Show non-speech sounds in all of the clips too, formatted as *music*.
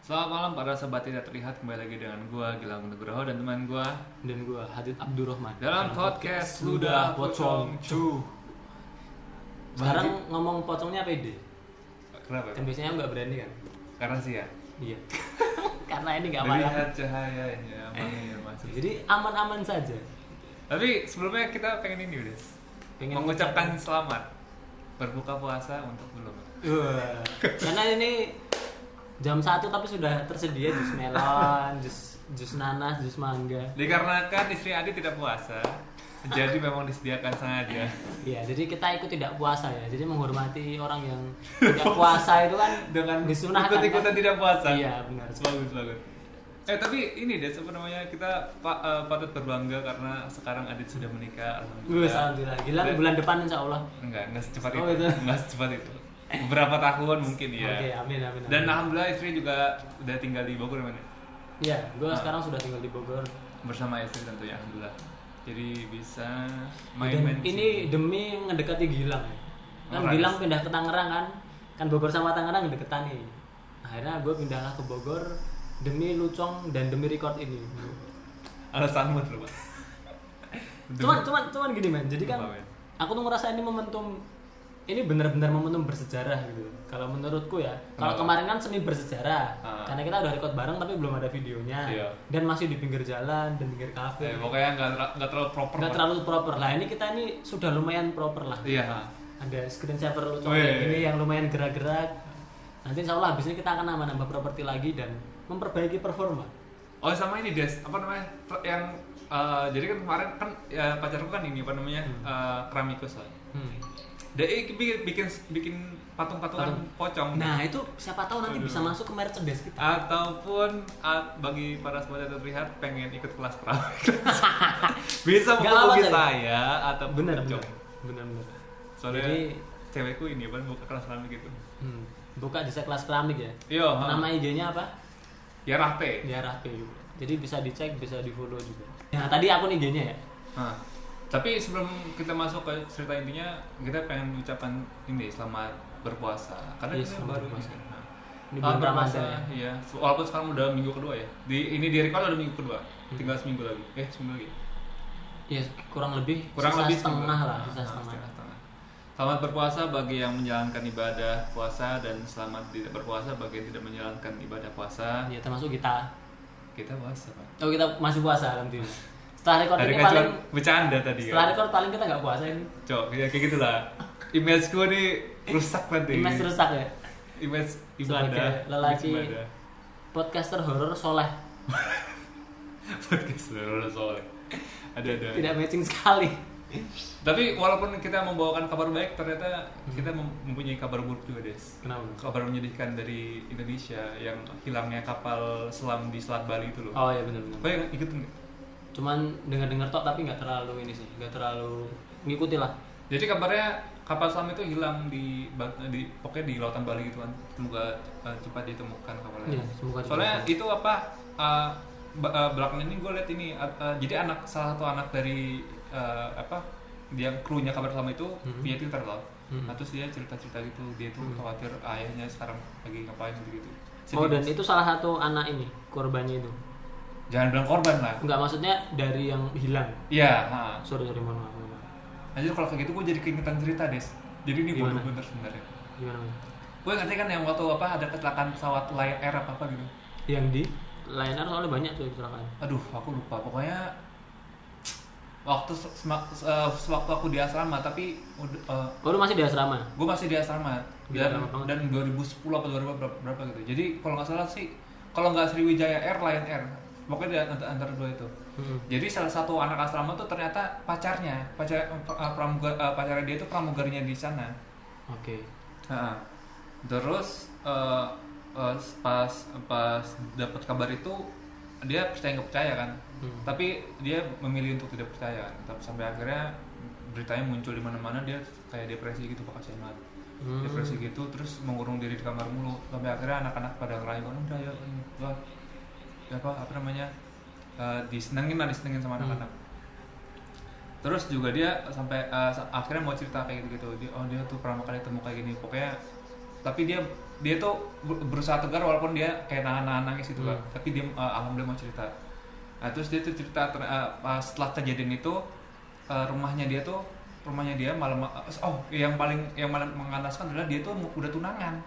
Selamat malam para sobat tidak terlihat kembali lagi dengan gua Gilang Nugroho dan teman gua dan gue Hadid Abdurrahman dalam podcast Luda Pocong Cu. sekarang ngomong pocongnya pede Kenapa? ya? dan biasanya nggak berani kan Karena sih ya. iya *laughs* karena ini nggak malam Melihat cahayanya mengalir masuk. jadi aman-aman saja Tapi sebelumnya kita pengen ini Des. Pengen mengucapkan selamat berbuka puasa untuk belum. Wah. karena ini jam satu tapi sudah tersedia jus *laughs* melon jus jus nanas jus mangga Dikarenakan istri Adi tidak puasa, jadi memang disediakan sengaja. ya jadi kita ikut tidak puasa ya jadi menghormati orang yang tidak puasa itu kan Dengan disunahkan ikut-ikutan kan? tidak puasa. iya benar Bagus banget. Eh tapi ini deh apa namanya kita pa- eh, patut berbangga karena sekarang Adit sudah menikah gue alhamdulillah. alhamdulillah gila Iya. bulan depan insya Allah Enggak, enggak secepat Oh, itu. gitu. Enggak secepat itu. Beberapa tahun mungkin ya. oke amin amin, amin. Dan alhamdulillah istri juga udah tinggal di Bogor mana? Iya, gue Ah. sekarang sudah tinggal di Bogor. Bersama istri tentunya alhamdulillah. Jadi bisa Dan main-main. Oh, ini demi ngedekati Gilang. ya. Kan Makanya. Gilang pindah ke Tangerang kan, kan Bogor sama Tangerang deketan nih. Akhirnya gue pindahlah ke Bogor demi lucong dan demi record ini. alasan buat lu, Pak. Cuman cuman cuman gini man, jadi kan Apa, men? aku tuh ngerasa ini momentum ini benar-benar momentum bersejarah gitu. Kalau menurutku ya, kalau kemarin kan semi bersejarah, Ah. karena kita udah record bareng tapi belum ada videonya Iya. dan masih di pinggir jalan dan pinggir kafe. Eh, pokoknya enggak ter- enggak terlalu proper. Iya. nggak Pak. terlalu proper lah ini kita ini sudah lumayan proper lah Iya. ha. ada screen saver lucu Oh, iya, kayak ini yang lumayan gerak-gerak nanti insya Allah habis ini kita akan nambah-nambah properti lagi dan memperbaiki performa Oh sama ini Des, apa namanya Ter- yang eh, jadi kan kemarin kan ya, pacarku kan ini apa namanya eh, keramikus lah. Hmm. Dia eh, bikin bikin bikin patung-patungan pocong nah itu siapa tahu nanti bisa masuk ke merchandise kita ataupun ah, bagi para semua yang terlihat pengen ikut kelas *laughs* keramik bisa Nggak menghubungi apa-apa, saya atau bener bener bener bener Soalnya Jadi- cewekku ini apa buka kelas keramik gitu. hmm. buka jasa kelas keramik ya Yo, ha. nama IG-nya apa ya rahte. Diarah PU jadi bisa dicek bisa di follow juga nah tadi akun IG-nya ya Hah. Tapi sebelum kita masuk ke cerita intinya, kita pengen mengucapkan ini selamat berpuasa. Karena Iya, kita selamat baru berpuasa. ini. Nah, Ini selamat bulan Ramadan ya? Iya. Walaupun sekarang udah minggu kedua ya. Di ini di record udah minggu kedua. Hmm. Tinggal seminggu lagi. Eh, seminggu lagi. ya kurang lebih Kurang sisa lebih setengah seminggu. lah sisa Ah, setengah Selamat berpuasa bagi yang menjalankan ibadah puasa dan selamat tidak berpuasa bagi yang tidak menjalankan ibadah puasa. ya termasuk kita Kita puasa, Pak. Oh kita masih puasa *laughs* alhamdulillah. Setelah record Dari Iya. ini kacuan paling bercanda tadi setelah kan. record paling kita nggak puasa ini. Cok, ya kayak gitulah. Image gue nih rusak nanti. Image rusak ya. image Sebagai ibadah lelaki. image ibadah. *laughs* Podcaster horor soleh podcast dulu soalnya ada ada tidak matching sekali. tapi walaupun kita membawakan kabar baik ternyata Hmm. kita mem- mempunyai kabar buruk juga des Kenapa? kabar menyedihkan dari Indonesia yang hilangnya kapal selam di Selat Bali itu loh Oh ya benar-benar. kau yang ikut nggak Cuman dengar-dengar tok tapi nggak terlalu ini sih, nggak terlalu ngikuti lah. jadi kabarnya kapal selam itu hilang di, ba- di pokoknya di lautan Bali gitu kan semoga eh, cepat ditemukan kapalnya Iya, semoga soalnya itu apa uh, ba- uh, belakangan ini gue liat ini uh, uh, jadi anak salah satu anak dari uh, apa yang krunya kabar lama itu Hmm. punya twitter loh Nah, terus dia cerita cerita gitu dia tuh khawatir ayahnya sekarang lagi ngapain gitu gitu Oh dan itu salah satu anak ini korbannya itu. jangan bilang korban lah Nggak maksudnya dari yang hilang. iya ha. Sorry sorry mohon maaf. mohon maaf. anjir kalau kayak gitu gue jadi keingetan cerita des jadi ini bodoh Gimana? bener sebenarnya Gimana? Mas? gue ngerti kan yang waktu apa ada kecelakaan pesawat Lion Air apa apa gitu Yang di Lion Air soalnya banyak tuh kecelakaan. aduh aku lupa pokoknya waktu se- sema- se- eh, sewaktu aku di asrama tapi ud- eh, Oh lu masih di asrama? gue masih di asrama Gila, dan lama banget. dan 2010 apa 2000 berapa, berapa gitu jadi kalau nggak salah sih kalau nggak Sriwijaya Air Lion Air pokoknya di antara, antara dua itu Hmm. jadi salah satu anak asrama tuh ternyata pacarnya pacar eh, pramuga- eh, pacarnya dia itu pramugarinya di sana Oke. Ha. terus eh, eh, pas pas dapat kabar itu dia percaya nggak percaya kan Hmm. tapi dia memilih untuk tidak percaya kan. tapi sampai akhirnya beritanya muncul di mana-mana dia kayak depresi gitu pak kasihan banget Hmm. depresi gitu terus mengurung diri di kamar mulu sampai akhirnya anak-anak pada ngerayu udah ya ini lah ya apa apa namanya Eh, disenengin lah disenengin sama anak-anak terus juga dia sampai eh, sa- akhirnya mau cerita kayak gitu gitu dia oh dia tuh pertama kali temu kayak gini pokoknya tapi dia dia tuh ber- berusaha tegar walaupun dia kayak nahan-nahan nangis gitu kan Hmm. tapi dia eh, alhamdulillah mau cerita nah, terus dia tuh cerita ter- eh, pas setelah kejadian itu eh, rumahnya dia tuh rumahnya dia malam oh yang paling yang paling mengandaskan adalah dia tuh udah tunangan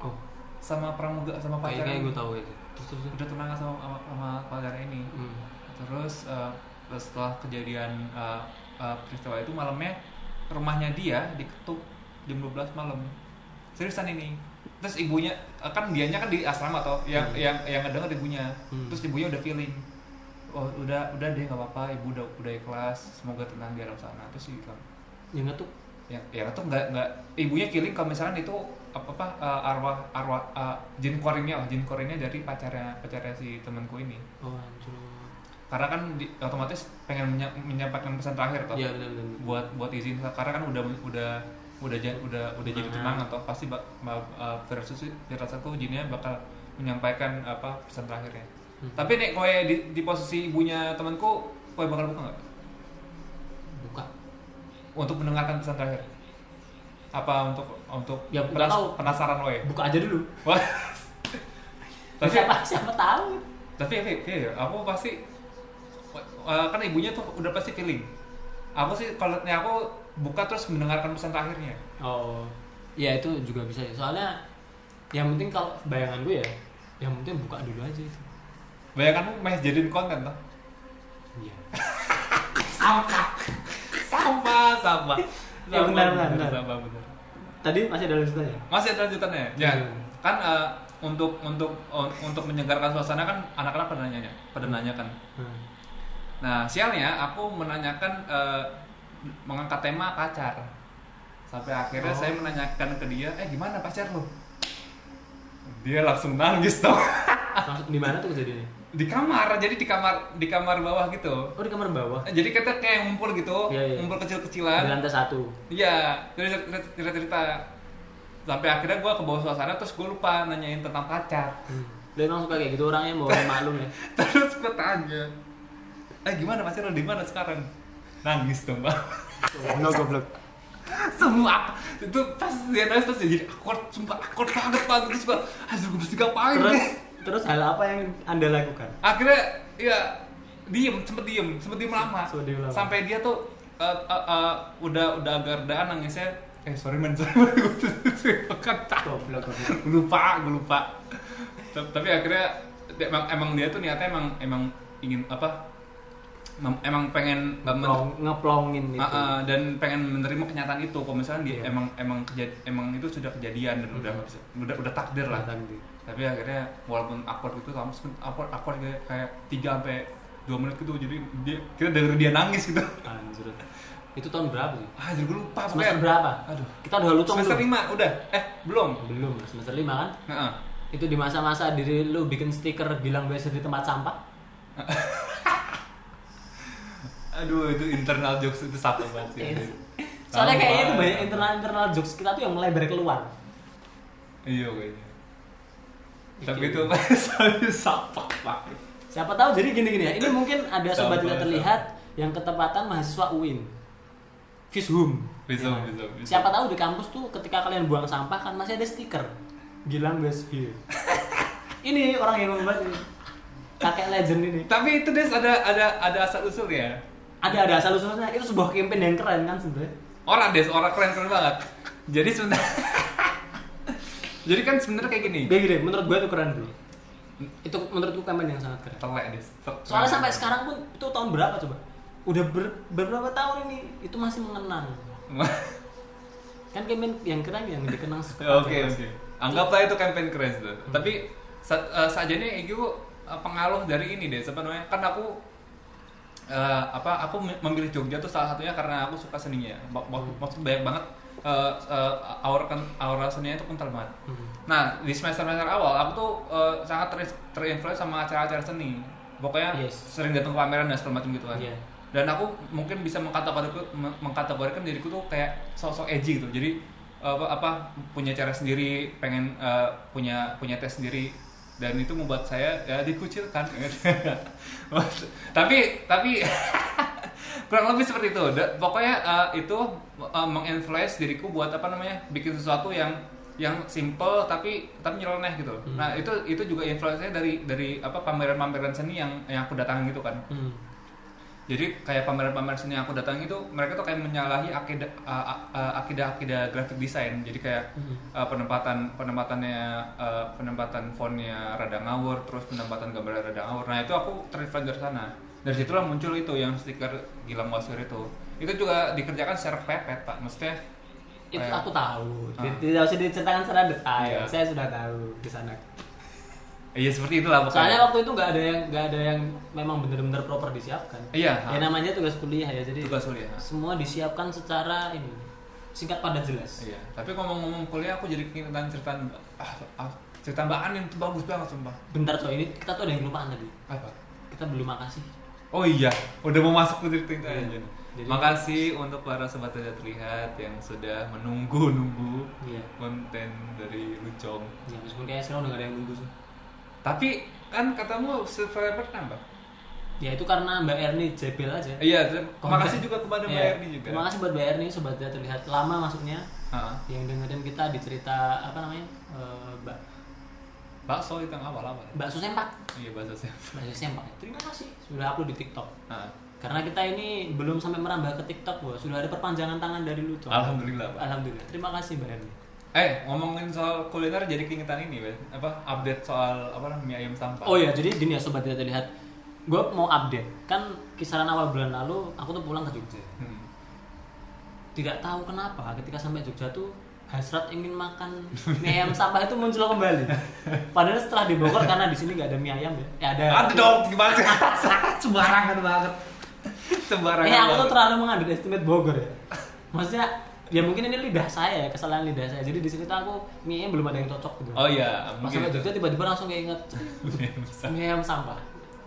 oh sama pramuga sama pacarnya kayaknya gue tahu itu terus terus terus. udah tunangan sama sama, sama pacarnya ini Hmm. terus eh, setelah kejadian eh, eh, peristiwa itu malamnya rumahnya dia diketuk jam 12 malam seriusan ini terus ibunya eh, kan dianya kan di asrama toh yang yang yang ngedenger ibunya Hmm. terus ibunya udah feeling oh udah udah deh nggak apa-apa ibu udah udah ikhlas semoga tenang di alam sana terus dia bilang yang ngetuk ya ya tuh nggak nggak ibunya feeling kalau misalkan itu apa apa eh, arwah arwah eh, jin korinnya lah jin korinnya dari pacarnya pacarnya si temanku ini oh hancur karena kan di- otomatis pengen menya- menyampaikan pesan terakhir toh ya benar benar buat buat izin karena kan udah udah udah ja- udah udah jadi tenang Tunangan. atau pasti bak, ma- uh, versus firasatku jinnya bakal menyampaikan apa pesan terakhirnya Hmm. tapi nek kowe di, di posisi ibunya temanku kowe bakal buka nggak buka untuk mendengarkan pesan terakhir apa untuk untuk Ya, nggak penas- tahu. penasaran *laughs* kowe buka aja dulu Wah. tapi siapa siapa tahu tapi tapi tapi aku pasti eh, kan ibunya tuh udah pasti feeling aku sih kalau nih aku buka terus mendengarkan pesan terakhirnya Oh, ya itu juga bisa ya. Soalnya yang penting kalau bayangan gue ya, yang penting buka dulu aja itu. bayangkanmu meh jadiin konten tuh Iya. sama sama Ya, Sama, benar, benar, benar. sama, benar. Tadi masih ada lanjutannya. masih ada lanjutannya ya Hmm. kan eh, untuk untuk un- untuk menyegarkan suasana kan anak-anak pada nanya pada nanyakan Hmm. nah sialnya aku menanyakan eh, mengangkat tema pacar sampai akhirnya Oh. saya menanyakan ke dia eh gimana pacar lo dia langsung nangis tuh *laughs* Langsung di mana tuh kejadiannya? di kamar jadi di kamar di kamar bawah gitu Oh di kamar bawah. jadi kita kayak ngumpul gitu Iya, iya. ngumpul Di kecil-kecilan lantai satu. iya jadi cerita cerita sampai akhirnya gue ke bawah suasana terus gue lupa nanyain tentang pacar *laughs* Hmm. Dia emang suka kayak gitu orangnya mau orang maklum ya. terus gue tanya eh gimana pacar lo di mana sekarang nangis dong mbak Oh, No goblok. *laughs* semua itu pas dia nangis terus dia jadi akor sumpah akor banget banget terus gue aduh gue mesti ngapain Terus nih?" terus hal apa yang anda lakukan? akhirnya ya diem sempet diem sempet diem lama, Sempet diem lama. sampai dia tuh eh, eh, eh, udah udah agak redaan nangisnya eh sorry men *laughs* sorry men gue kan Goblok goblok. Gua lupa gue lupa Ta- tapi akhirnya dia- emang emang dia tuh niatnya emang emang ingin apa mem- emang pengen eh, men- Ngeplong, ngeplongin Ah, itu. ah, dan pengen menerima kenyataan itu kalau misalnya dia Gitu. Iya. emang emang kejad- emang itu sudah kejadian dan udah nggak bisa udah udah takdir lah Datang di- tapi akhirnya walaupun awkward gitu kamu awkward awkward kayak, kayak 3 sampai 2 menit gitu jadi dia kita denger dia nangis gitu *laughs* Anjir. Itu tahun berapa sih? ah jadi gue lupa pokoknya. Semester berapa? Aduh. Kita udah lucong semester belum? 5 udah eh belum Belum, semester lima kan? Heeh. itu di masa-masa diri lu bikin stiker bilang gue di tempat sampah aduh itu internal jokes itu satu banget sih Iya. soalnya Sama. kayaknya itu banyak internal-internal jokes kita tuh yang melebar keluar iya kayaknya tapi Oke. itu *laughs* soalnya sampah banget siapa tahu jadi gini-gini ya ini mungkin ada Sampah, sobat tidak terlihat yang ketepatan mahasiswa UIN Fishum bisa Ya. bisa bisa siapa tahu di kampus tuh ketika kalian buang sampah kan masih ada stiker bilang gue here ini orang yang membuat ini kakek legend ini tapi itu des ada ada ada asal usul ya ada ada asal usulnya itu sebuah campaign yang keren kan sebenarnya orang des orang keren keren banget jadi sebenarnya *laughs* jadi kan sebenarnya kayak gini dia gini gitu menurut gue itu keren bro itu menurutku campaign yang sangat keren telek des Ter- Soalnya keren. sampai sekarang pun itu tahun berapa coba? Udah ber- beberapa tahun ini itu masih mengenang. Kan Kemen yang keren yang dikenang Oke *laughs* *laughs* sekarang. oke. Anggaplah itu campaign keren tuh. Tapi sa eh, sajanya itu eh, pengaruh dari ini deh sebenarnya. Kan aku eh, apa aku me- memilih Jogja tuh salah satunya karena aku suka seninya. Mak- mak- Maksud banyak banget eh, eh, aura ken- aura seninya itu kental banget. Hmm. Nah di semester semester awal aku tuh eh, sangat ter terinfluence sama acara-acara seni. Pokoknya Yes. sering datang ke pameran dan segala macam gitu kan. Iya. Dan aku mungkin bisa mengkategorikan, mengkategorikan diriku tuh kayak sosok edgy gitu. Jadi apa, apa punya cara sendiri, pengen eh, punya punya tes sendiri dan itu membuat saya ya dikucilkan. *laughs* tapi *laughs* tapi kurang lebih seperti itu. Da- pokoknya eh, itu eh, menginfluence diriku buat apa namanya? bikin sesuatu yang yang simple tapi tapi nyeleneh gitu. Hmm. Nah itu itu juga influence-nya dari dari apa pameran-pameran seni yang yang aku datangin gitu kan. Hmm. Jadi kayak pameran-pameran seni yang aku datangin itu mereka tuh kayak menyalahi akidah a- a- a- akidah-akidah graphic design. Jadi kayak Hmm. uh, penempatan penempatannya uh, penempatan fontnya rada ngawur terus penempatan gambarnya rada ngawur nah itu aku terinfluence dari sana dari situlah muncul itu yang stiker Gilang Wasir itu itu juga dikerjakan secara pepet pak maksudnya Itu kayak- aku tahu. Ah. Tidak usah diceritakan secara detail. Iya. Saya sudah tahu di sana. iya seperti itulah pokoknya Soalnya waktu itu nggak ada yang nggak ada yang memang benar-benar proper disiapkan. iya Ya namanya tugas kuliah ya. Jadi tugas kuliah semua disiapkan secara ini singkat padat jelas. iya tapi ngomong-ngomong kuliah aku jadi keingetan cerita ah, ah, cerita Mbak Anin itu bagus banget sumpah Bentar coy, ini kita tuh ada yang kelupaan tadi. apa Kita belum makasih. Oh iya, udah mau masuk ke cerita Iya. aja. Jadi- Makasih untuk para sobat tidak terlihat yang sudah menunggu-nunggu Iya. konten dari Lucong. Ya meskipun kayak sekarang udah nggak ada yang nunggu sih. Tapi kan katamu subscriber nambah. Ya itu karena Mbak Erni jebel aja. Iya, terima Konten. kasih juga kepada Mbak Iya. Erni juga. Terima kasih buat Mbak Erni sobat tidak terlihat lama masuknya Heeh. yang dengerin kita di cerita apa namanya Eh, Mbak bakso itu yang awal-awal. Mbak Susempak. Iya, bakso saya. Mbak Susempak. Terima kasih sudah upload di TikTok. Heeh. Karena kita ini belum sampai merambah ke TikTok, Wah. sudah ada perpanjangan tangan dari Luto. Alhamdulillah, Pak. Alhamdulillah. Terima kasih Mbak Erni. Eh, ngomongin soal kuliner jadi keingetan ini, Bel. apa update soal apa namanya mie ayam sampah. Oh iya, jadi gini ya sobat tidak terlihat. Gue mau update. Kan kisaran awal bulan lalu aku tuh pulang ke Jogja. Hmm. Tidak tahu kenapa ketika sampai Jogja tuh hasrat ingin makan mie ayam sampah itu muncul kembali. Padahal setelah di Bogor karena di sini nggak ada mie ayam ya. Ya ada. Ada dong, gimana sih? *laughs* Sembarangan banget. Sembarangan. Ini aku tuh banget. terlalu mengunderestimate Bogor ya. Maksudnya ya mungkin ini lidah saya ya, kesalahan lidah saya. Jadi di sini tuh aku mie ayam belum ada yang cocok gitu. Oh iya, Pas mungkin sampai itu. Jogja tiba-tiba langsung kayak inget Mie ayam sampah. mie ayam sampah.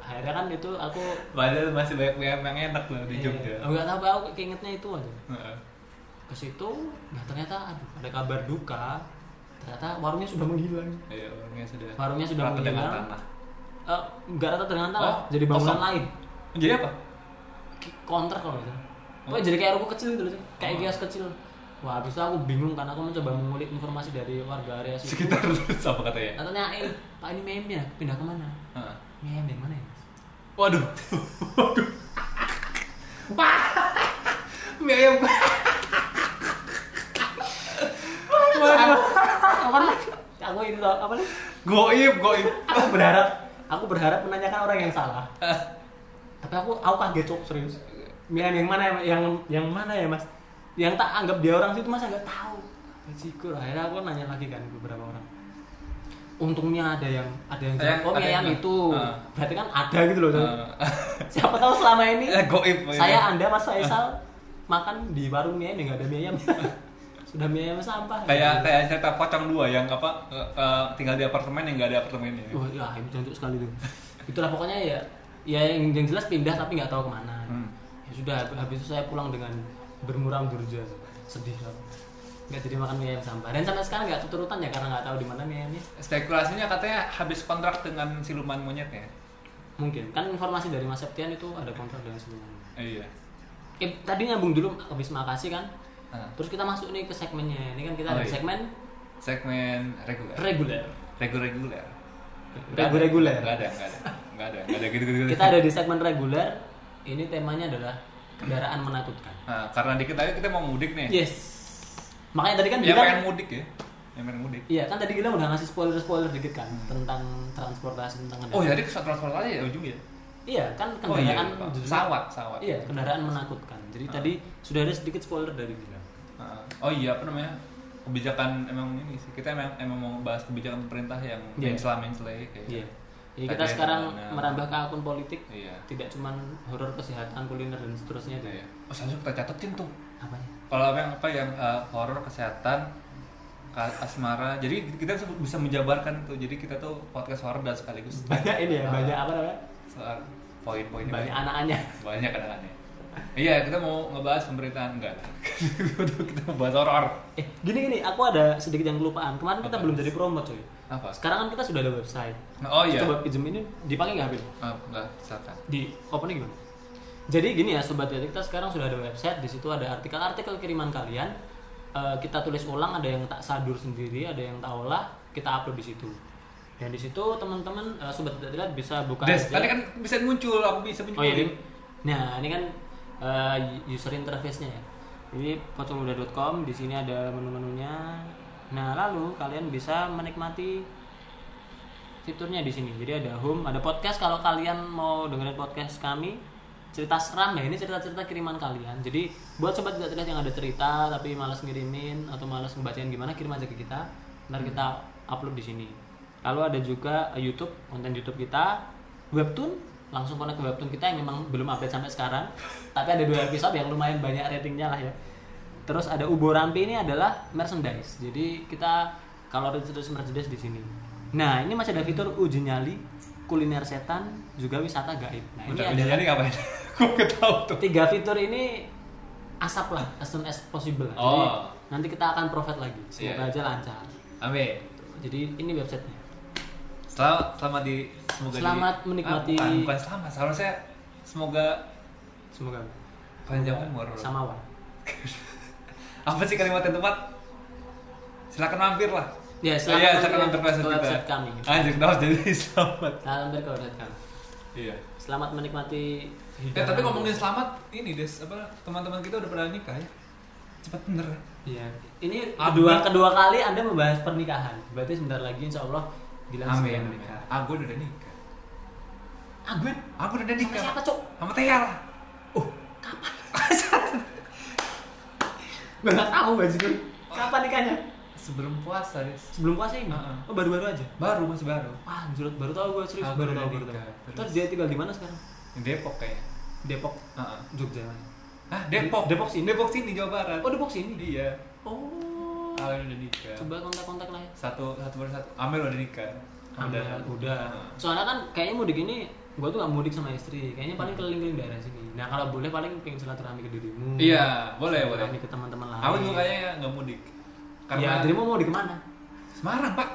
Akhirnya kan itu aku *laughs* Padahal masih banyak mie ayam yang enak loh di Jogja. Iya. Enggak tahu aku keingetnya itu aja. Heeh. Ke situ, nah ternyata aduh ada kabar duka. Ternyata warungnya sudah menghilang. Iya, orangnya sudah. Warungnya sudah rata dengan menghilang. tanah. Eh, enggak rata dengan tanah, Oh, jadi bangunan kosong. lain. Jadi apa? Ki- Counter kalau misalnya. Pokoknya jadi kayak ruko kecil gitu loh, kayak Oh. kios kecil. Wah, habis itu aku bingung karena aku mencoba mengulik informasi dari warga area situ. Sekitar *laughs* terus apa katanya? Nah, tanyain, Pak ini meme-nya pindah kemana? Heeh. Meme yang mana ya? Mas?" Waduh. Waduh. *laughs* Wah. mie ayam. Waduh. Apa lagi? Aku ini tau, apa lagi? Goib, goib. Aku berharap, aku berharap menanyakan orang yang salah. tapi aku aku kaget cok serius Mian yang mana ya, yang yang mana ya mas yang tak anggap dia orang situ masa nggak tahu Bajigur akhirnya aku nanya lagi kan ke beberapa orang untungnya ada yang ada yang jawab Yang- oh ada Mian yang- itu Ah. berarti kan ada gitu loh Cok. Eh, *laughs* siapa tahu selama ini goib. iya. Ah. saya anda mas Faisal makan di warung Mian yang nggak ada mie ayam *laughs* sudah mie ayam sampah kayak kayak cerita pocong dua yang apa eh, eh, tinggal di apartemen yang nggak ada apartemennya. Wah, ya itu jancuk sekali tuh. *laughs* Itulah pokoknya ya, ya yang, yang jelas pindah tapi nggak tahu kemana. Hmm. Ya sudah, hab- habis itu saya pulang dengan bermuram durja, sedih lah. Nggak jadi makan mie ayam sampah. Dan sampai sekarang nggak tuturutan ya karena nggak tahu di mana mie ayamnya. Spekulasinya katanya habis kontrak dengan siluman monyetnya. Mungkin kan informasi dari Mas Septian itu ada kontrak dengan sebelumnya. Eh, Iya. Eh, tadi nyambung dulu habis makasih kan. Ah. Terus kita masuk nih ke segmennya. Ini kan kita Oh, ada iya. segmen segmen reguler reguler. reguler reguler Regu- reguler. nggak ada nggak ada nggak ada nggak ada gitu gitu Kita ada di segmen reguler. Ini temanya adalah kendaraan menakutkan. nah, karena dikit aja kita mau mudik nih Yes. Makanya tadi kan yang bilang- pengen mudik ya yang pengen mudik Iya kan tadi Gilang udah ngasih spoiler spoiler dikit kan tentang transportasi tentang kendaraan. oh jadi ke transportasi ya ujungnya Iya kan oh iya kendaraan lupa. jujur- pesawat pesawat Iya kendaraan menakutkan. Ah. Jadi tadi sudah ada sedikit spoiler dari Gilang. Heeh. oh iya apa namanya kebijakan emang ini sih kita emang emang mau bahas kebijakan pemerintah yang Iya. mensela mensele kayak gitu. Iya. Jadi Tadi kita yang sekarang mana- merambah ke akun politik. iya Tidak cuman horor kesehatan kuliner dan seterusnya itu. iya oh seharusnya kita catetin tuh Apa ya? kalau apa yang apa yang eh, horor kesehatan ka- asmara jadi kita bisa menjabarkan tuh jadi kita tuh podcast horor dan sekaligus Banyak ini ya Ah. banyak apa namanya? soal poin-poinnya Banyak banyak anak-anaknya. banyak kedengarannya iya kita mau ngebahas pemerintahan enggak *laughs* lah. kita mau bahas horor Eh gini gini aku ada sedikit yang kelupaan. Kemarin kita Apa? belum jadi promote coy. apa Sekarang kan kita sudah ada website. oh iya Coba pinjem ini dipakai nggak Bil? Ah, enggak silakan di opening gimana? Jadi gini ya sobat detik, kita sekarang sudah ada website di situ ada artikel-artikel kiriman kalian eh, kita tulis ulang ada yang tak sadur sendiri ada yang tak olah kita upload di situ dan di situ teman-teman eh, sobat tidak Telat bisa buka Des, aja. tadi kan bisa muncul, aku bisa muncul. Oh iya, Dim. Nah, ini kan eh, user interface-nya ya. Jadi pocongmuda.com di sini ada menu-menunya. Nah, lalu kalian bisa menikmati fiturnya di sini. Jadi ada home, ada podcast kalau kalian mau dengerin podcast kami. Cerita seram ya, ini cerita-cerita kiriman kalian. Jadi buat sobat tidak terlihat yang ada cerita tapi malas ngirimin atau malas ngebacain gimana kirim aja ke kita. Ntar kita upload di sini. Lalu ada juga eh, YouTube, konten YouTube kita, webtoon, langsung connect ke webtoon kita yang memang belum update sampai sekarang. Tapi ada dua episode yang lumayan banyak ratingnya lah ya. Terus ada Ubo Rampi ini adalah merchandise. Jadi kita kalau ada terus merchandise di sini. Nah, ini masih ada fitur uji nyali, kuliner setan, juga wisata gaib. Nah, ini Udah ada jadi ngapain? *laughs* Gue ketahu tuh. tiga fitur ini asap lah, as soon as possible. lah. Jadi, Oh. nanti kita akan profit lagi. Iya. Semoga aja lancar. Amin. Jadi ini websitenya. Selamat, selamat di semoga Selamat di, menikmati- Ah, bukan, bukan selamat, seharusnya semoga Semoga panjang umur. sama Wan. Apa sih kalimat yang tepat? Silakan mampir lah. Ya, Oh silakan iya, mampir silakan mampir ke ke website kita. website kami. Anjir, kenapa jadi *laughs* selamat? Salam berkodekan. Iya. Selamat menikmati. Ya, hidangan. tapi ngomongin selamat, ini Des, apa teman-teman kita udah pada nikah ya? Cepat bener ya? Iya. Ini Amin. kedua kedua kali Anda membahas pernikahan. Berarti sebentar lagi Insya Allah Gilang Amin. segera amin. menikah. Ah, gue udah nikah. Ah, gue Aku udah sama nikah. siapa cok? Sama Tia lah. Gue nggak tahu bajigur. Kapan nikahnya? Sebelum puasa, Des. Sebelum puasa ini. Heeh. Oh baru-baru aja. Baru, masih baru. Wah, jurut baru tahu gue serius. Aku baru udah tahu baru nikah, tahu. terus. Terus dia tinggal di mana sekarang? Depok kayaknya. Depok, Heeh. Jogja. Ah, Depok. Depok sini. Depok sini Jawa Barat. Oh Depok sini. Iya. Oh. Amel udah nikah. Coba kontak-kontak lah ya. Satu satu per satu. Amel udah nikah. Udah, udah. Heeh. Soalnya kan kayaknya mudik ini gue tuh gak mudik sama istri, kayaknya paling Hmm. keliling-keliling daerah sini. Nah kalau boleh paling pengen silaturahmi ke dirimu. Iya, boleh, Silaturahmi boleh. ke teman-teman lain. Aku juga kayaknya nggak mudik. Ya, Karena dirimu mau di kemana? Semarang, Pak.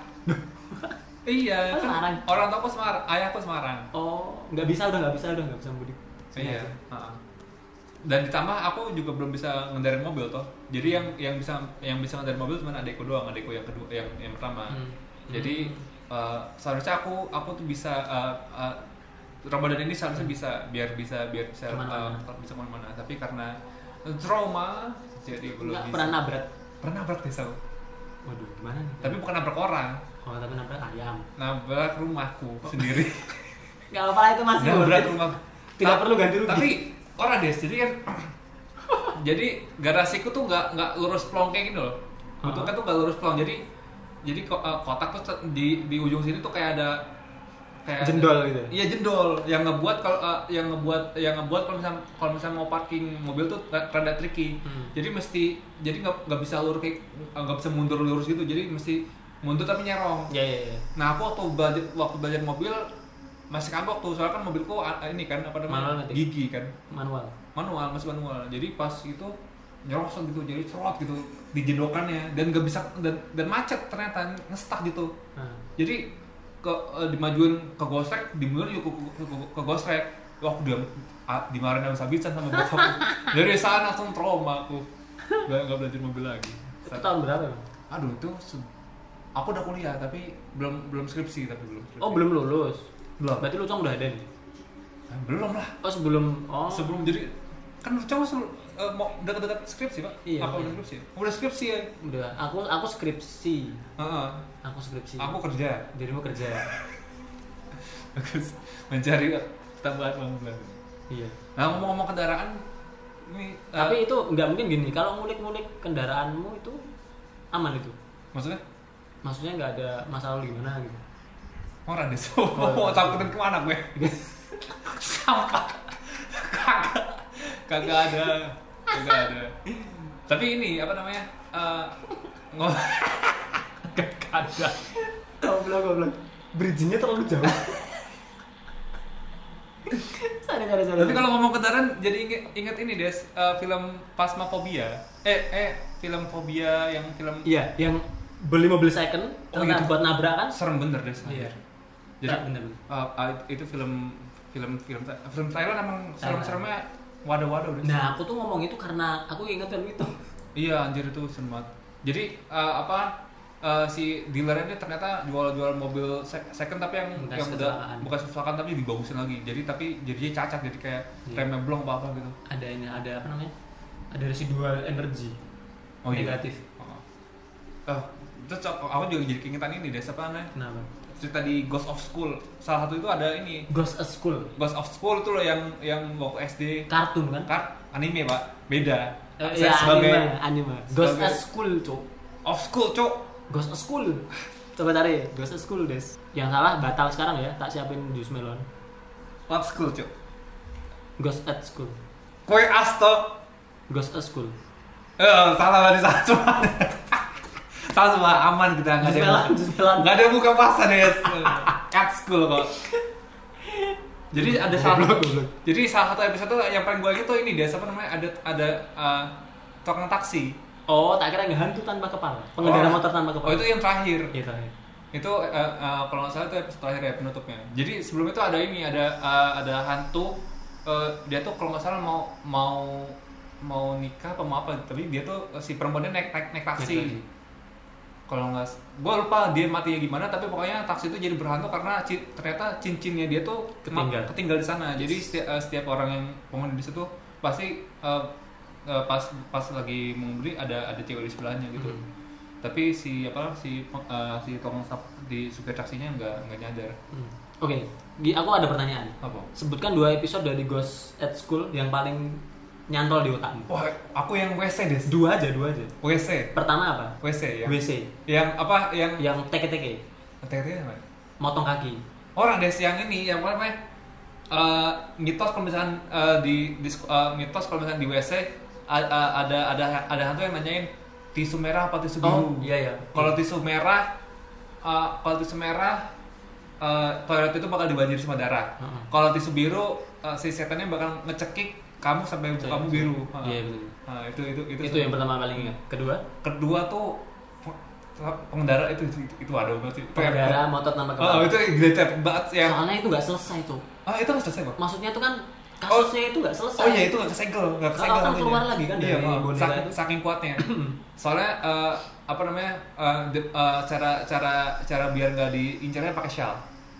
*laughs* iya, Oh, kan Semarang. orang tuaku Semarang, ayahku Semarang. Oh, nggak bisa udah nggak bisa udah nggak bisa mudik. Sini Iya. aja. heeh. Dan ditambah aku juga belum bisa ngendarin mobil toh. Jadi yang yang bisa yang bisa ngendarin mobil cuma adekku doang, adekku yang kedua yang yang pertama. Hmm. Jadi eh, seharusnya aku aku tuh bisa eh, eh, Ramadan ini seharusnya bisa biar bisa biar bisa Kemana-mana. eh, bisa kemana-mana. Tapi karena trauma jadi belum Nggak bisa. pernah nabrak. pernah nabrak desa. Waduh, gimana nih? Tapi bukan nabrak orang, oh, tapi nabrak ayam. nabrak rumahku sendiri. *laughs* Gak apa-apa lah, itu masih nabrak worth it. rumah. Tidak Ta- perlu ganti rugi. Ah, Tapi orang deh, jadi *coughs* kan jadi garasiku tuh nggak nggak lurus plong kayak gini loh. Bentuknya tuh nggak lurus plong. Jadi jadi ko- eh, kotak tuh se- di di ujung sini tuh kayak ada kayak ada- jendol gitu. Iya jendol yang ngebuat kalau eh, yang ngebuat yang ngebuat kalau misalnya kalau misalnya mau parking mobil tuh ra- rada tricky. Hmm. Jadi mesti jadi nggak nggak bisa lurus kayak nggak bisa mundur lurus gitu. Jadi mesti mundur tapi nyerong. Ya ya ya. Nah aku waktu belajar waktu belajar mobil masih kagok tuh soalnya kan mobilku a- ini kan apa Manual namanya nggak, Tik? gigi kan Manual. manual masih manual jadi pas itu nyerosot gitu jadi cerot gitu di jendokannya dan gak bisa dan, dan macet ternyata ngestak gitu Nah. jadi ke eh, dimajuin ke gosrek dimundur juga ke, ke, ke- ke gosrek wah aku dia ah, dimarahin habis-habisan sama *laughs* bokap dari sana langsung trauma aku gak, gak belajar mobil lagi Itu tahun berapa? Bang? aduh itu se- aku udah kuliah tapi belum belum skripsi tapi belum skripsi. Oh, belum lulus. belum Berarti lu cong udah ada nih. Ah, belum lah Oh, sebelum oh. sebelum jadi kan lu cowok sebelum- eh, mau dekat-dekat skripsi pak Iya, apa udah iya. skripsi udah skripsi ya udah aku aku skripsi Heeh. aku skripsi aku kerja dirimu kerja Bagus. mencari eh, tambahan uang bulan iya nah ngomong-ngomong kendaraan ini eh, tapi itu nggak mungkin gini kalau ngulik-ngulik kendaraanmu itu aman itu maksudnya maksudnya nggak ada masalah lu gimana gitu orang deh so mau takutin kemana gue sampah kagak kagak ada kagak ada tapi ini apa namanya Eh ngom- *laughs* kagak ada goblok goblok bridgingnya terlalu jauh sorry sorry sorry Tapi kalau ngomong kendaraan jadi inget, inget ini Des, eh, film Phasmophobia. Eh eh film fobia yang film iya yang beli mobil second Oh, ternyata gitu. buat nabrak kan Nah. serem bener Des. anjir. Jadi Tak, bener, bener. eh, eh, itu film film film film Thailand emang serem-seremnya wadah-wadah Des. nah aku tuh ngomong itu karena aku ingat film itu Iya anjir itu serem banget. Jadi eh, apa eh, si dealernya ini ternyata jual-jual mobil sek- second tapi yang Bekas yang kecelakaan. udah bukan kecelakaan tapi dibagusin lagi. Jadi tapi jadinya cacat jadi kayak Iya. remnya blong apa apa gitu. ada ini ada apa namanya ada residual energi Oh iya. negatif Oh. Eh, terus aku aku juga jadi keingetan ini deh siapa namanya? kenapa Cerita di Ghost of School. Salah satu itu ada ini. Ghost at School Ghost of School tuh loh yang yang waktu SD kartun kan kart anime pak beda Eh, Saya sebagai anime, anime. Ghost sebagai- at School cok of school cok Ghost at School *laughs* coba cari Ghost at School des yang salah batal sekarang ya tak siapin jus melon what school cok Ghost at School kue asto Ghost at School eh salah lagi salah semua *laughs* salah semua aman kita nggak jus ada yang melon jus melon nggak ada yang buka puasa deh cat school kok jadi ada salah Goblok, goblok. jadi salah satu episode tuh yang paling gue inget tuh ini dia siapa namanya ada ada eh, tukang taksi oh tak kira yang hantu tanpa kepala pengendara Oh. motor tanpa kepala oh itu yang terakhir Iya, tahu. itu eh, eh, kalau nggak salah itu episode terakhir ya penutupnya jadi sebelum itu ada ini ada eh, ada hantu eh, dia tuh kalau nggak salah mau mau mau nikah apa mau apa tapi dia tuh eh, si perempuannya naik naik, naik Naik taksi taksi. kalau nggak gue lupa dia matinya gimana tapi pokoknya taksi itu jadi berhantu karena ci- ternyata cincinnya dia tuh ma- Ketinggal. ketinggal di sana jadi setiap, eh, setiap orang yang penghuni di situ pasti eh, eh, pas pas lagi mau beli ada ada cewek di sebelahnya gitu Hmm. tapi si apa si eh, si tukang sap- di supir taksinya nggak nggak nyadar Hmm. oke Di- aku ada pertanyaan apa sebutkan dua episode dari Ghost at School yang paling nyantol di otakmu wah aku yang wc des dua aja dua aja wc pertama apa wc ya WC yang apa yang ya, yang teke-teke TRT apa motong kaki Oh, orang des yang ini yang apa namanya eh, mitos kalau misalkan eh, di, di sek- eh, mitos kalau misalkan di wc a- a- ada ada ada hantu yang nanyain tisu merah apa tisu biru iya iya kalau tisu merah eh, kalau tisu merah eh, toilet itu bakal dibanjiri sama darah Heeh. kalau tisu biru eh, si setannya bakal ngecekik kamu sampai Iya, kamu iya. biru Heeh. Iya, bener. Nah, itu itu itu, itu, yang pertama paling ingat kedua kedua tuh pengendara itu itu, itu ada banget sih pengendara motor tanpa Oh, kepala itu gila capek banget yang soalnya itu nggak selesai tuh Ah, itu nggak selesai, Bang. maksudnya itu kan kasusnya itu nggak selesai Oh iya, itu nggak kesegel, nggak kesegel. Kalau akan nantinya. keluar lagi kan Iya, dari Bang. boneka saking, itu. Hmm. saking *clears throat* kuatnya. Soalnya eh, apa namanya? eh, de- eh, cara cara cara biar nggak diincarnya pakai shawl.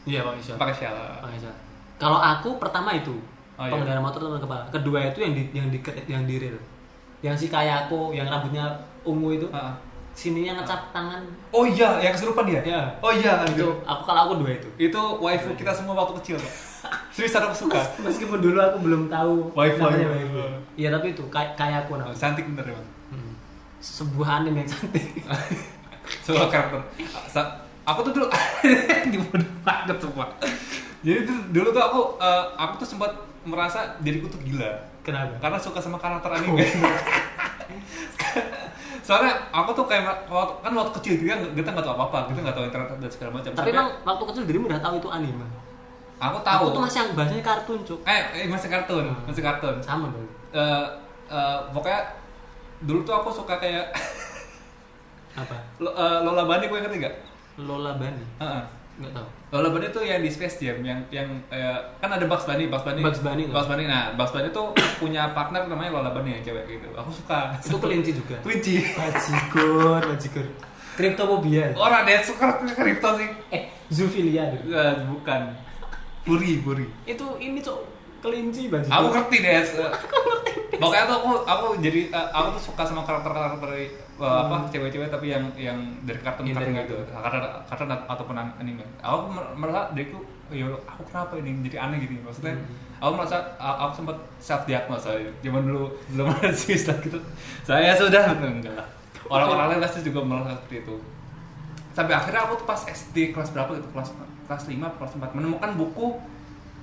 iya pak Isyal Pakai shawl. Pak Isyal kalau aku pertama itu Oh, iya. pengendara motor tanpa kepala kedua itu yang di yang di yang di rel yang si kayako yang rambutnya ungu itu Heeh. sininya ngecap tangan Oh iya, yang kesurupan dia. Ah. Iya. Oh iya, itu itu. aku kalau aku dua itu Itu waifu kita semua waktu *laughs* kecil, Pak. Serius aku suka. meskipun dulu aku belum tahu Wifi. namanya wifi. iya tapi itu kay kayako Oh, namanya cantik bener ya, Bang. Hmm. sebuah anime yang cantik Semua karakter. Sa- aku tuh dulu *laughs* dibodoh banget semua. Jadi tuh, dulu tuh aku eh, aku tuh sempat merasa diriku tuh gila. *laughs* kenapa karena suka sama karakter *laughs* anime soalnya aku tuh kayak waktu- kan waktu kecil kita kita nggak tahu apa apa kita nggak tahu internet dan segala macam tapi Sampai emang waktu kecil dirimu udah tahu itu anime aku tahu aku tuh masih Hmm. yang bahasanya kartun cuk eh, eh, masih kartun masih kartun sama dong Eh, eh, pokoknya dulu tuh aku suka kayak *laughs* apa Lo- eh, Lola Bunny gue ngerti nggak Lola Bunny Heeh. nggak tahu Lola Bunny tuh yang di Space Jam yang yang eh, kan ada Bugs Bunny Bugs Bunny Bugs Bunny. Bugs Bunny nah Bugs Bunny tuh *coughs* punya partner namanya Lola Bunny yang cewek gitu aku suka itu kelinci juga Twitchy bajigur bajigur kriptofobia orang deh suka kripto sih eh zoofilia dulu. Eh, bukan puri puri itu ini cuk kelinci bajigur aku ngerti deh pokoknya tuh aku aku jadi eh, aku tuh suka sama karakter karakter apa cewek-cewek tapi yang yang Hmm. dari kartun Iya, kartun dari gitu kartun kartun ataupun an- anime aku mer- merasa diriku ya Allah, aku kenapa ini jadi aneh gitu maksudnya aku merasa a- aku sempat self diagnosa zaman dulu belum ada *laughs* sih gitu saya sudah enggak lah orang-orang lain pasti juga merasa seperti itu sampai akhirnya aku tuh pas SD kelas berapa gitu kelas kelas 5 apa kelas 4 menemukan buku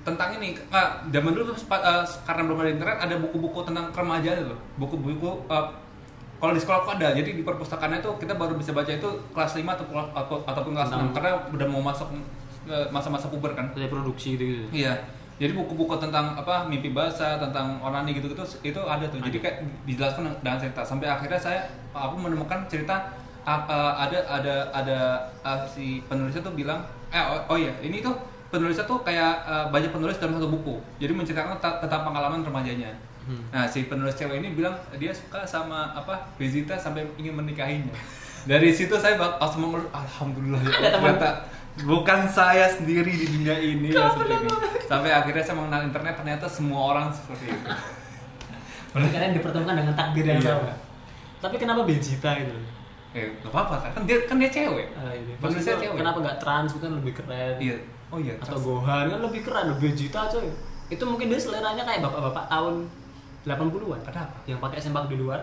tentang ini Nah, zaman dulu tuh sempat, eh, karena belum ada internet ada buku-buku tentang remaja itu loh buku-buku eh, kalau di sekolah aku ada jadi di perpustakaannya tuh kita baru bisa baca itu kelas 5 atau, kelas- atau- ataupun kelas Tentang- 6 karena udah mau masuk eh, masa-masa puber kan reproduksi gitu gitu Iya. Jadi buku-buku tentang apa mimpi basah, tentang onani gitu-gitu itu ada tuh. Jadi kayak dijelaskan dengan cerita sampai akhirnya saya aku menemukan cerita apa ada ada ada ah, si penulisnya tuh bilang eh oh, oh iya ini tuh penulisnya tuh kayak eh, banyak penulis dalam satu buku. Jadi menceritakan tentang tentang pengalaman remajanya. Hmm. Nah, si penulis cewek ini bilang dia suka sama apa Bezita sampai ingin menikahinya. Dari situ saya bak- pas mau ngeluh, alhamdulillah ya Allah, Ada teman. ternyata bukan saya sendiri di dunia ini yang seperti ini. Sampai akhirnya saya mengenal internet ternyata semua orang seperti itu. Berarti kalian dipertemukan dengan takdir yang Iya. sama. Tapi kenapa Vegeta gitu? Eh, gak apa-apa kan dia kan dia cewek. Ah, gitu. Penulisnya Maksudnya, cewek. Kenapa nggak trans kan lebih keren? Iya. Oh iya. Atau Gohan kan lebih keren, lebih Vegeta coy. Itu mungkin dia seleranya kayak bapak-bapak tahun 80-an. Kenapa? Yang pakai sempak di luar.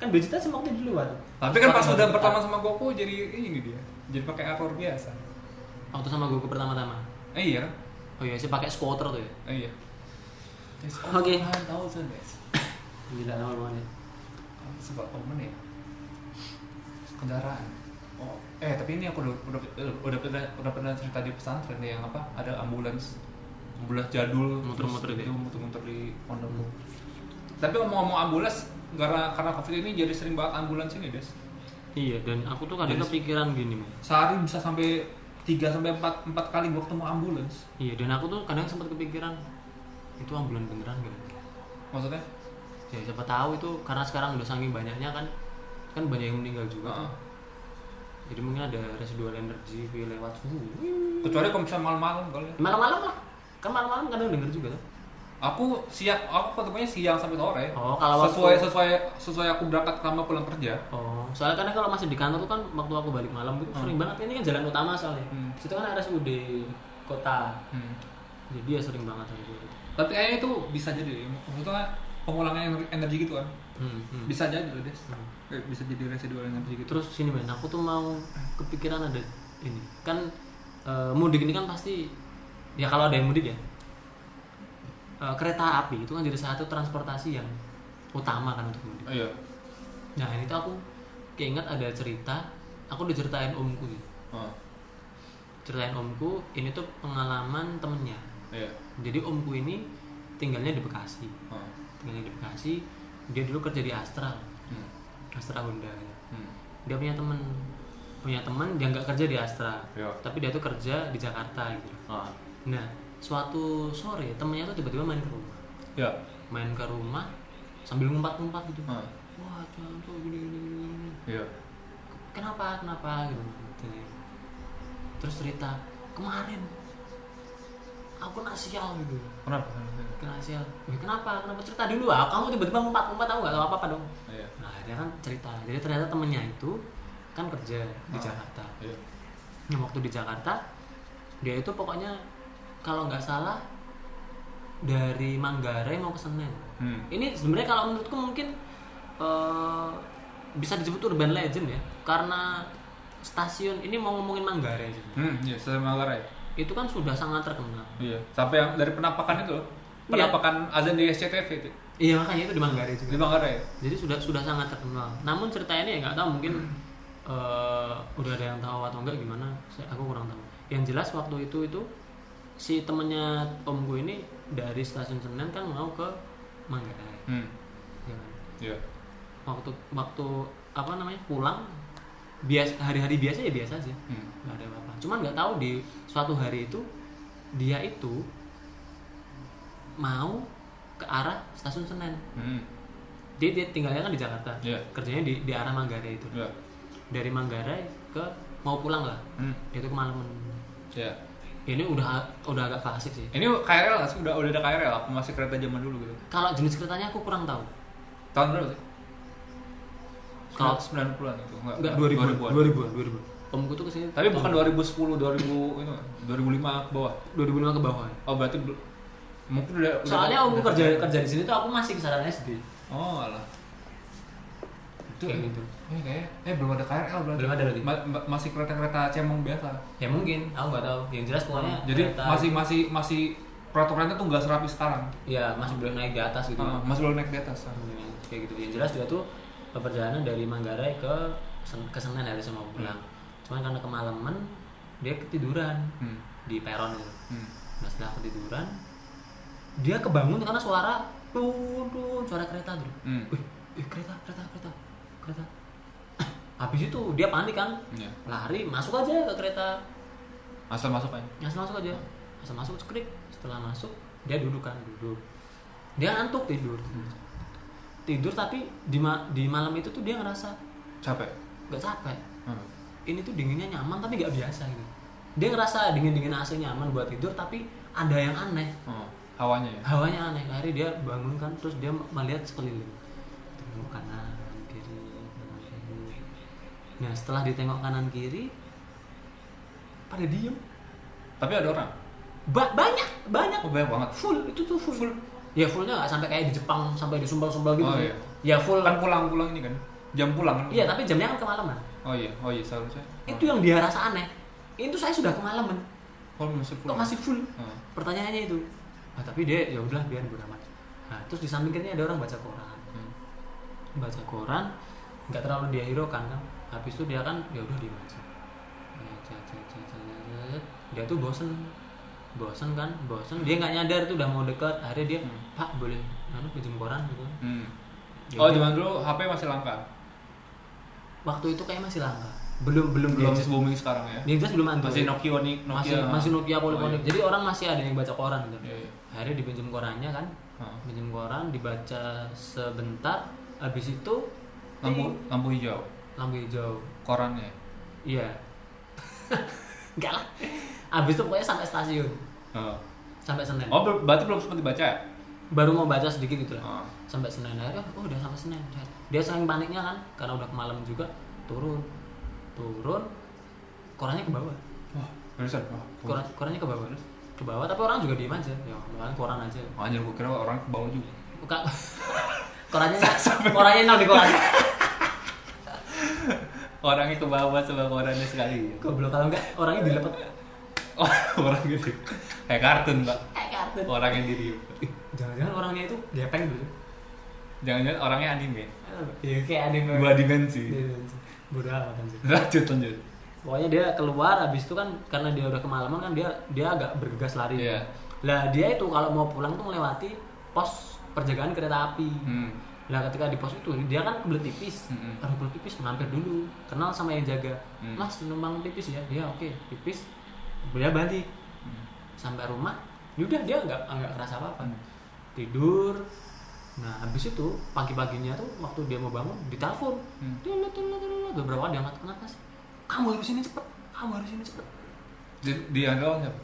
Kan Vegeta sempaknya di luar. Tapi kan pas Sempak udah di pertama depan. sama Goku jadi ini dia. Jadi pakai armor biasa. waktu sama Goku pertama-tama. Eh, iya kan? Oh iya, sih pakai skuter tuh ya. Eh, iya. oh, That's all Oke. 1000 days. Gila lama banget. ya. sebab momen ya kendaraan oh eh tapi ini aku udah udah eh, udah pernah udah pernah cerita di pesantren nih, yang apa ada ambulans ambulans jadul Muter-muter terus Hmm. gitu itu muter-muter di pondokku tapi ngomong-ngomong ambulans karena karena covid ini jadi sering banget ambulans ini des Iya, dan aku tuh kadang Jadi- kepikiran gini, Mas. sehari bisa sampai 3 sampai 4 empat kali gua ketemu ambulans Iya, dan aku tuh kadang sempat kepikiran itu ambulan beneran gak? maksudnya Ya siapa tahu itu karena sekarang udah saking banyaknya kan kan banyak yang meninggal juga. Heeh. tuh. Jadi mungkin ada residual energi kayak lewat suhu. Ya, kecuali kalau misalnya malam-malam kali ya. Malam-malam lah. Kan malam-malam kadang denger juga tuh. aku siang aku ketemunya siang sampai sore Oh, kalau waktu- sesuai sesuai sesuai aku berangkat sama pulang kerja Oh, soalnya kadang kalau masih di kantor tuh kan waktu aku balik malam itu sering banget. Ini kan jalan utama soalnya. Hmm. Situ kan RSUD kota. Hmm. Jadi ya sering banget hari itu. Tapi kayaknya itu bisa jadi maksudnya pengulangan ener- energi gitu kan. Hmm, hmm. Bisa jadi loh, Des. Hmm. Eh, Bisa jadi residual energi gitu. Terus sini men, aku tuh mau kepikiran ada ini. Kan eh, mudik ini kan pasti ya kalau ada yang mudik ya. eh, kereta api itu kan jadi satu transportasi yang utama kan untuk mudik. Oh, iya. Nah, ini tuh aku keinget ada cerita, aku diceritain omku gitu. Oh, Ceritain omku, ini tuh pengalaman temennya. iya. Jadi omku ini tinggalnya di Bekasi. Oh. Tinggalnya di Bekasi, dia dulu kerja di Astra. Hmm. Astra Honda gitu. Hmm. dia punya temen punya teman dia nggak kerja di Astra Iya. tapi dia tuh kerja di Jakarta gitu Ah. nah suatu sore temennya tuh tiba-tiba main ke rumah Ya. main ke rumah sambil ngumpat-ngumpat gitu Ah. wah jangan tuh gini gini gini gini. Iya. kenapa kenapa gitu Tanya. terus cerita kemarin aku kena sial gitu Kenapa? kena sial "Wih, kenapa kenapa cerita dulu ah kamu tiba-tiba ngumpat-ngumpat aku nggak tahu apa-apa dong Iya. nah dia kan cerita jadi ternyata temennya itu kan kerja di Ah. Jakarta Iya. Nah, waktu di Jakarta dia itu pokoknya kalau nggak salah dari Manggarai mau ke Senen. Hmm. Ini sebenarnya kalau menurutku mungkin eh, bisa disebut urban legend ya karena stasiun ini mau ngomongin Manggarai sih. Hmm, iya, saya Manggarai. itu kan sudah sangat terkenal. Iya. Sampai yang dari penampakan itu loh. Iya. Penampakan azan di SCTV itu. Iya makanya itu di Manggarai juga. Di Manggarai. Jadi sudah sudah sangat terkenal. Namun cerita ini ya nggak tahu mungkin eh, udah ada yang tahu atau enggak gimana. saya- Aku kurang tahu. Yang jelas waktu itu itu si temennya om gue ini dari stasiun Senen kan mau ke Manggarai. Hmm. ya kan. Iya. Waktu waktu apa namanya pulang bias hari-hari biasa ya biasa aja Hmm. nggak ada apa-apa. Cuman nggak tahu di suatu hari itu dia itu mau ke arah stasiun Senen. Hmm. Dia, dia tinggalnya kan di Jakarta. Iya. Kerjanya di, di arah Manggarai itu. Iya. Dari Manggarai ke mau pulang lah. Hmm. Dia tuh kemalaman. Ya, Iya. Ini udah udah agak klasik sih. Ini KRL nggak sih? Udah, udah ada KRL apa masih kereta zaman dulu gitu? Kalau jenis keretanya aku kurang tahu. Tahun berapa sih? Kalau- 90-an itu enggak. Enggak 2000 2000-an. 2000 2000. Omku tuh kesini Tapi bukan 2010, 2000 itu 2005 ke bawah. 2005 ke bawah. Oh berarti bel- mungkin udah udah- Soalnya omku udah- kerja kerja di sini tuh aku masih kisaran SD. Oh alah. Itu Kayak gitu. Eh, kayak, eh belum ada KRL berarti. Belum ada berarti. Ma- ma- masih kereta-kereta cemong biasa. Ya mungkin, aku nggak tahu. Yang jelas pokoknya Jadi Iya, kereta- masih masih masih peraturannya tuh nggak serapi sekarang. ya masih belum naik di atas gitu. Ah, masih belum naik di atas. ah. Hmm, kayak gitu yang jelas dia tuh perjalanan dari Manggarai ke Sen- ke Senen hari sama pulang cuman karena kemalaman dia ketiduran Hmm. di peron gitu Hmm. nah setelah ketiduran dia kebangun karena suara tuh tuh suara kereta tuh Hmm. wih wih, kereta kereta kereta kereta *clears throat* habis itu dia panik kan Ya. lari masuk aja ke kereta Asal masuk aja. langsung masuk aja langsung masuk krik setelah masuk dia duduk kan duduk dia ngantuk tidur tidur tapi di, ma- di malam itu tuh dia ngerasa capek nggak capek hmm. ini tuh dinginnya nyaman tapi nggak biasa gitu dia ngerasa dingin dingin AC nyaman buat tidur tapi ada yang aneh Hmm. hawanya ya hawanya aneh hari dia bangun kan terus dia melihat sekeliling tengok kanan kiri kanan, kiri. nah setelah ditengok kanan kiri pada diem tapi ada orang ba banyak banyak oh banyak banget full itu tuh full, ya fullnya nggak sampai kayak di Jepang sampai disumbal-sumbal gitu Oh, iya. ya full kan pulang pulang ini kan jam pulang kan iya tapi jamnya kan kemalaman oh iya oh iya seharusnya itu ya? yang dia rasa aneh itu saya sudah kemalaman oh masih kok pulang masih full Hmm. pertanyaannya itu nah, tapi dia ya udah biar bodo amat nah, terus di samping kirinya ada orang baca koran Hmm. baca koran nggak terlalu dia hiraukan kan habis itu dia Ya, kan ya udah diem aja Baca, baca, baca, baca, baca. dia tuh bosen bosen kan bosen dia nggak nyadar tuh udah mau dekat akhirnya dia Hmm. pak boleh anu pinjem koran gitu Hmm. Ya oh udah. zaman dulu HP masih langka waktu itu kayak masih langka belum belum belum gadget. booming sekarang ya Gadget belum antu masih Nokia Nokia masih masih Nokia poliponik Oh, jadi orang masih ada yang baca koran gitu Iya, iya. akhirnya dipinjam korannya kan Heeh. pinjam koran dibaca sebentar habis itu lampu ting, lampu hijau lampu hijau korannya iya *laughs* enggak lah habis itu pokoknya sampai stasiun Heeh. sampai Senen oh ber- berarti belum sempat dibaca ya Oh. baru mau baca sedikit gitu lah Heeh. sampai Senin akhirnya oh udah sampai Senin Udah. dia saking paniknya kan karena udah kemalam juga turun turun korannya ke bawah wah barusan wah koran korannya ke bawah ke bawah tapi orang juga diem aja ya paling koran aja Oh, anjir gue kira orang kebangun juga *laughs* Buka. korannya korannya nol di koran *laughs* orangnya ke bawah sama korannya sekali goblok kalau enggak orangnya dilepet oh, *laughs* orang gitu kayak kartun pak eh kartun orang yang diri jangan-jangan orangnya itu gepeng dulu jangan-jangan orangnya anime iya kayak anime dua dimensi bodoh amat anjir lanjut lanjut pokoknya dia keluar habis itu kan karena dia udah kemalaman kan dia dia agak bergegas lari Iya. lah dia itu kalau mau pulang tuh melewati pos perjagaan kereta api hmm. Nah ketika di pos itu dia kan kebelet tipis, Mm-mm. aduh kebelet tipis mampir dulu, kenal sama yang jaga, Mm. mas numpang tipis ya, dia oke tipis, dia balik Mm. sampai rumah, yaudah dia nggak nggak kerasa apa apa, Mm. tidur, nah habis itu pagi paginya tuh waktu dia mau bangun ditelepon, Mm. Tulut, tulut, tulut. beberapa kali diangkat kenapa sih, kamu harus ini cepet, kamu harus ini cepet, Di- di awal siapa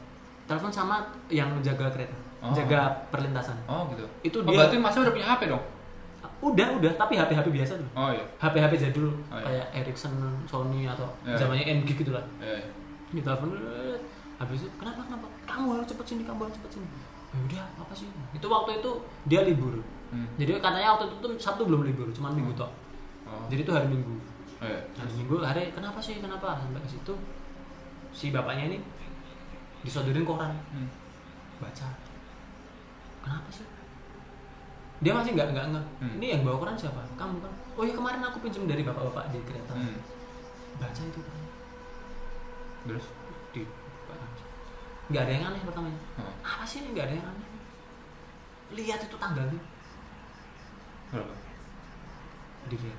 telepon sama yang jaga kereta, Oh. jaga perlintasan, oh gitu Itu Oh, dia- berarti masa udah punya HP dong udah udah tapi HP HP biasa tuh. oh iya HP-HP jadul Oh, iya. kayak Ericsson, Sony atau Iya. zamannya NG gitu lah. iya iya. Di telepon "Eh, habis itu kenapa kenapa? Kamu harus cepet sini, kamu harus cepet sini. Ya udah, apa sih? Itu waktu itu dia libur. Hmm. Jadi katanya waktu itu tuh Sabtu belum libur, cuman Minggu tok. Oh. Jadi itu hari Minggu. Oh, iya. Hari Minggu hari kenapa sih? Kenapa? Sampai ke situ si bapaknya ini disodorin koran Hmm. baca kenapa sih dia masih nggak nggak nggak Hmm. ini yang bawa koran siapa kamu kan oh iya kemarin aku pinjam dari bapak-bapak di kereta Hmm. baca itu kan Terus? di nggak ada yang aneh pertamanya Hmm. apa sih ini nggak ada yang aneh lihat itu tanggalnya Berapa? dilihat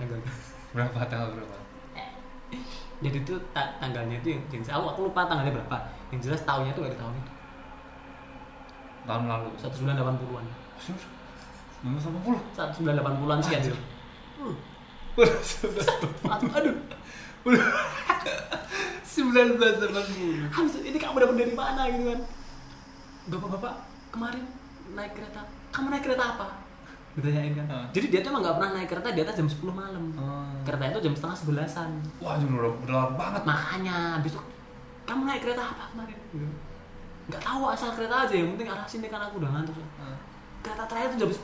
tanggalnya Berapa tanggal berapa? *laughs* jadi itu ta- tanggalnya itu yang, yang aku, aku lupa tanggalnya berapa yang jelas tahunnya itu nggak ada tahun itu Tahun lalu. satu sembilan delapan puluhan Serius? Nomor sama puluh. satu sembilan delapan puluhan sekian dulu aduh Sembilan belas delapan puluh. habis itu, ini kamu dapat dari mana gitu kan bapak-bapak kemarin naik kereta kamu naik kereta apa ditanyain kan Hah. jadi dia tuh emang nggak pernah naik kereta di atas jam 10 malam Hmm. kereta itu jam setengah sebelasan Wah, jumlah udah udah lama banget. makanya habis itu kamu naik kereta apa kemarin gitu. nggak tahu asal kereta aja yang penting arah sini kan aku udah ngantuk kereta terakhir tuh jam 10 *laughs*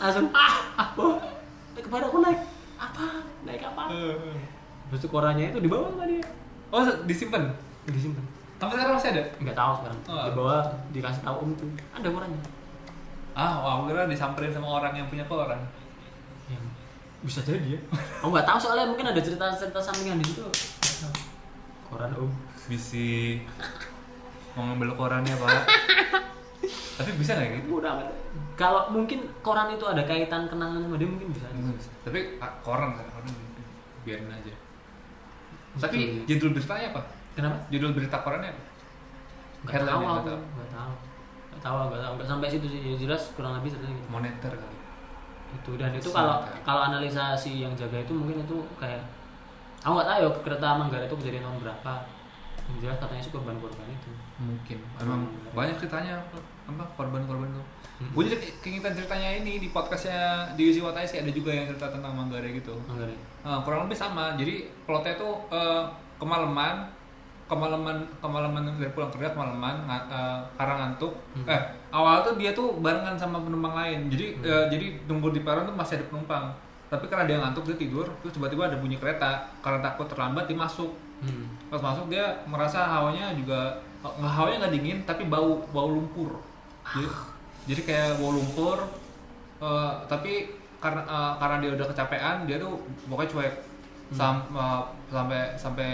langsung ah, ah oh, kemarin aku naik apa naik apa Eh. habis itu korannya itu dibawa sama dia Oh, disimpan. disimpan Tapi sekarang masih ada? nggak tahu sekarang Oh. di bawah dikasih tahu om tuh ada orangnya Ah, wah, aku kira disamperin sama orang yang punya koran. yang bisa jadi ya Iya. aku nggak tahu soalnya mungkin ada cerita cerita sampingan di situ Nggak tahu. koran om Misi mau ngambil korannya, Pak. Tapi bisa nggak gitu? udah amat kalau mungkin koran itu ada kaitan kenangan sama dia mungkin bisa aja. Mungkin bisa. Tapi ah, koran kan, koran biarin aja. Tapi judul beritanya apa? kenapa Judul berita korannya apa? nggak Headline-nya tahu nggak aku tahu. nggak tahu nggak tahu nggak tahu nggak sampai situ sih ya jelas kurang lebih seperti itu moneter kali itu dan itu kalau Sementara. kalau analisa si yang jaga itu mungkin itu kayak aku nggak tahu ya kereta Manggarai itu kejadian tahun berapa yang jelas katanya sih korban-korban itu mungkin emang banyak ceritanya apa korban-korban tuh gue jadi keingetan ceritanya ini di podcastnya di Yusi Watai sih ada juga yang cerita tentang Manggarai gitu Manggarai Nah, kurang lebih sama jadi plotnya tuh eh, kemalaman kemalaman kemalaman dari pulang kerja kemalaman nga- eh, karena ngantuk eh awal tuh dia tuh barengan sama penumpang lain jadi eh, jadi nunggu di peron tuh masih ada penumpang tapi karena dia ngantuk dia tidur terus tiba-tiba ada bunyi kereta karena takut terlambat dia masuk hmm. pas masuk dia merasa hawanya juga nggak hawanya nggak dingin tapi bau bau lumpur jadi, jadi kayak bau lumpur eh, tapi karena eh, karena dia udah kecapean dia tuh pokoknya cuek Sam- eh, sampai sampai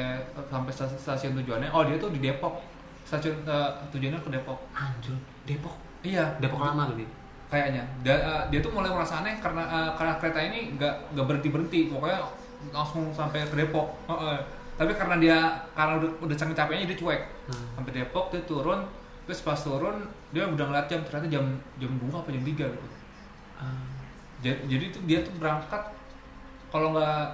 sampai stas- stasiun tujuannya oh dia tuh di Depok stasiun eh, tujuannya ke Depok Anjur Depok iya Depok lama gitu kayaknya Dan, eh, dia tuh mulai merasa aneh karena eh, karena kereta ini nggak nggak berhenti berhenti pokoknya langsung sampai ke Depok Heeh. tapi karena dia karena udah, udah saking capeknya dia cuek Hmm. sampai Depok dia turun terus pas turun dia udah ngeliat jam ternyata jam jam dua apa jam tiga gitu Ah. Ja- jadi tuh dia tuh berangkat kalau nggak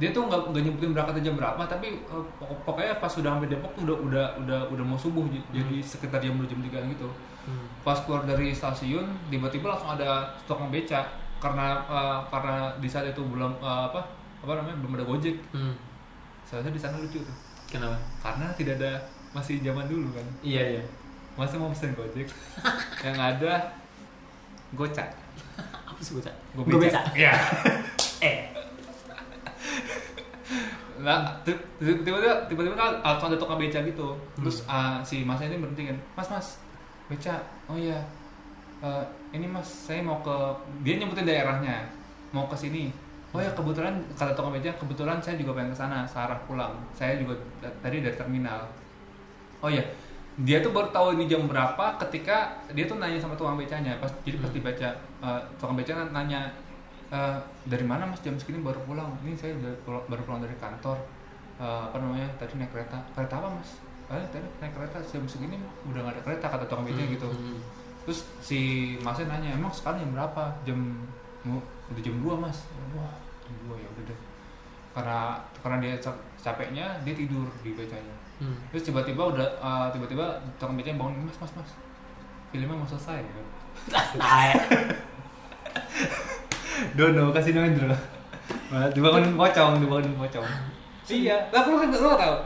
dia tuh nggak nggak nyebutin berangkatnya jam berapa tapi eh, pokok- pokoknya pas sudah sampai Depok tuh udah udah udah udah mau subuh j- jadi sekitar jam 2 jam 3 gitu Hmm. pas keluar dari stasiun tiba-tiba langsung ada tukang beca karena eh, karena di saat itu belum eh, apa apa namanya belum ada gojek Hmm. seharusnya di sana lucu tuh Kenapa? karena tidak ada masih zaman dulu kan Iya iya. masa mau pesen gojek yang ada gocak Apa sih gocak? Gobeca. Iya. *laughs* Eh. Nah, ti- ti- tiba-tiba tiba-tiba kan langsung ada tukang beca gitu. Terus ah, si Mas ini berhenti kan. Mas, Mas. Beca. Oh iya. Eh, ini Mas, saya mau ke dia nyebutin daerahnya. Mau ke sini. Oh ya kebetulan kata tukang beca kebetulan saya juga pengen ke sana, searah pulang. Saya juga da- tadi dari terminal. Oh iya. Dia tuh baru tahu ini jam berapa ketika dia tuh nanya sama tukang becanya. Pas jadi Hmm. pas dibaca eh, tukang beca nanya "Eh, dari mana Mas jam segini baru pulang? Ini saya udah pul- baru pulang dari kantor. Eh, apa namanya? Tadi naik kereta. Kereta apa, Mas? Eh, tadi naik kereta jam segini udah gak ada kereta kata tukang beca gitu. Hmm. Terus si Masnya nanya, "Emang sekarang jam berapa?" Jam mau- udah jam 2, Mas. Wah, jam 2 ya udah deh. Karena karena dia cap- capeknya, dia tidur di becanya Hmm. terus tiba-tiba udah uh, tiba-tiba tukang beca bangun mas mas mas filmnya mau selesai ya." Nah, dono kasih nama Indro dibangunin pocong dibangunin pocong iya lah lu kan lu tau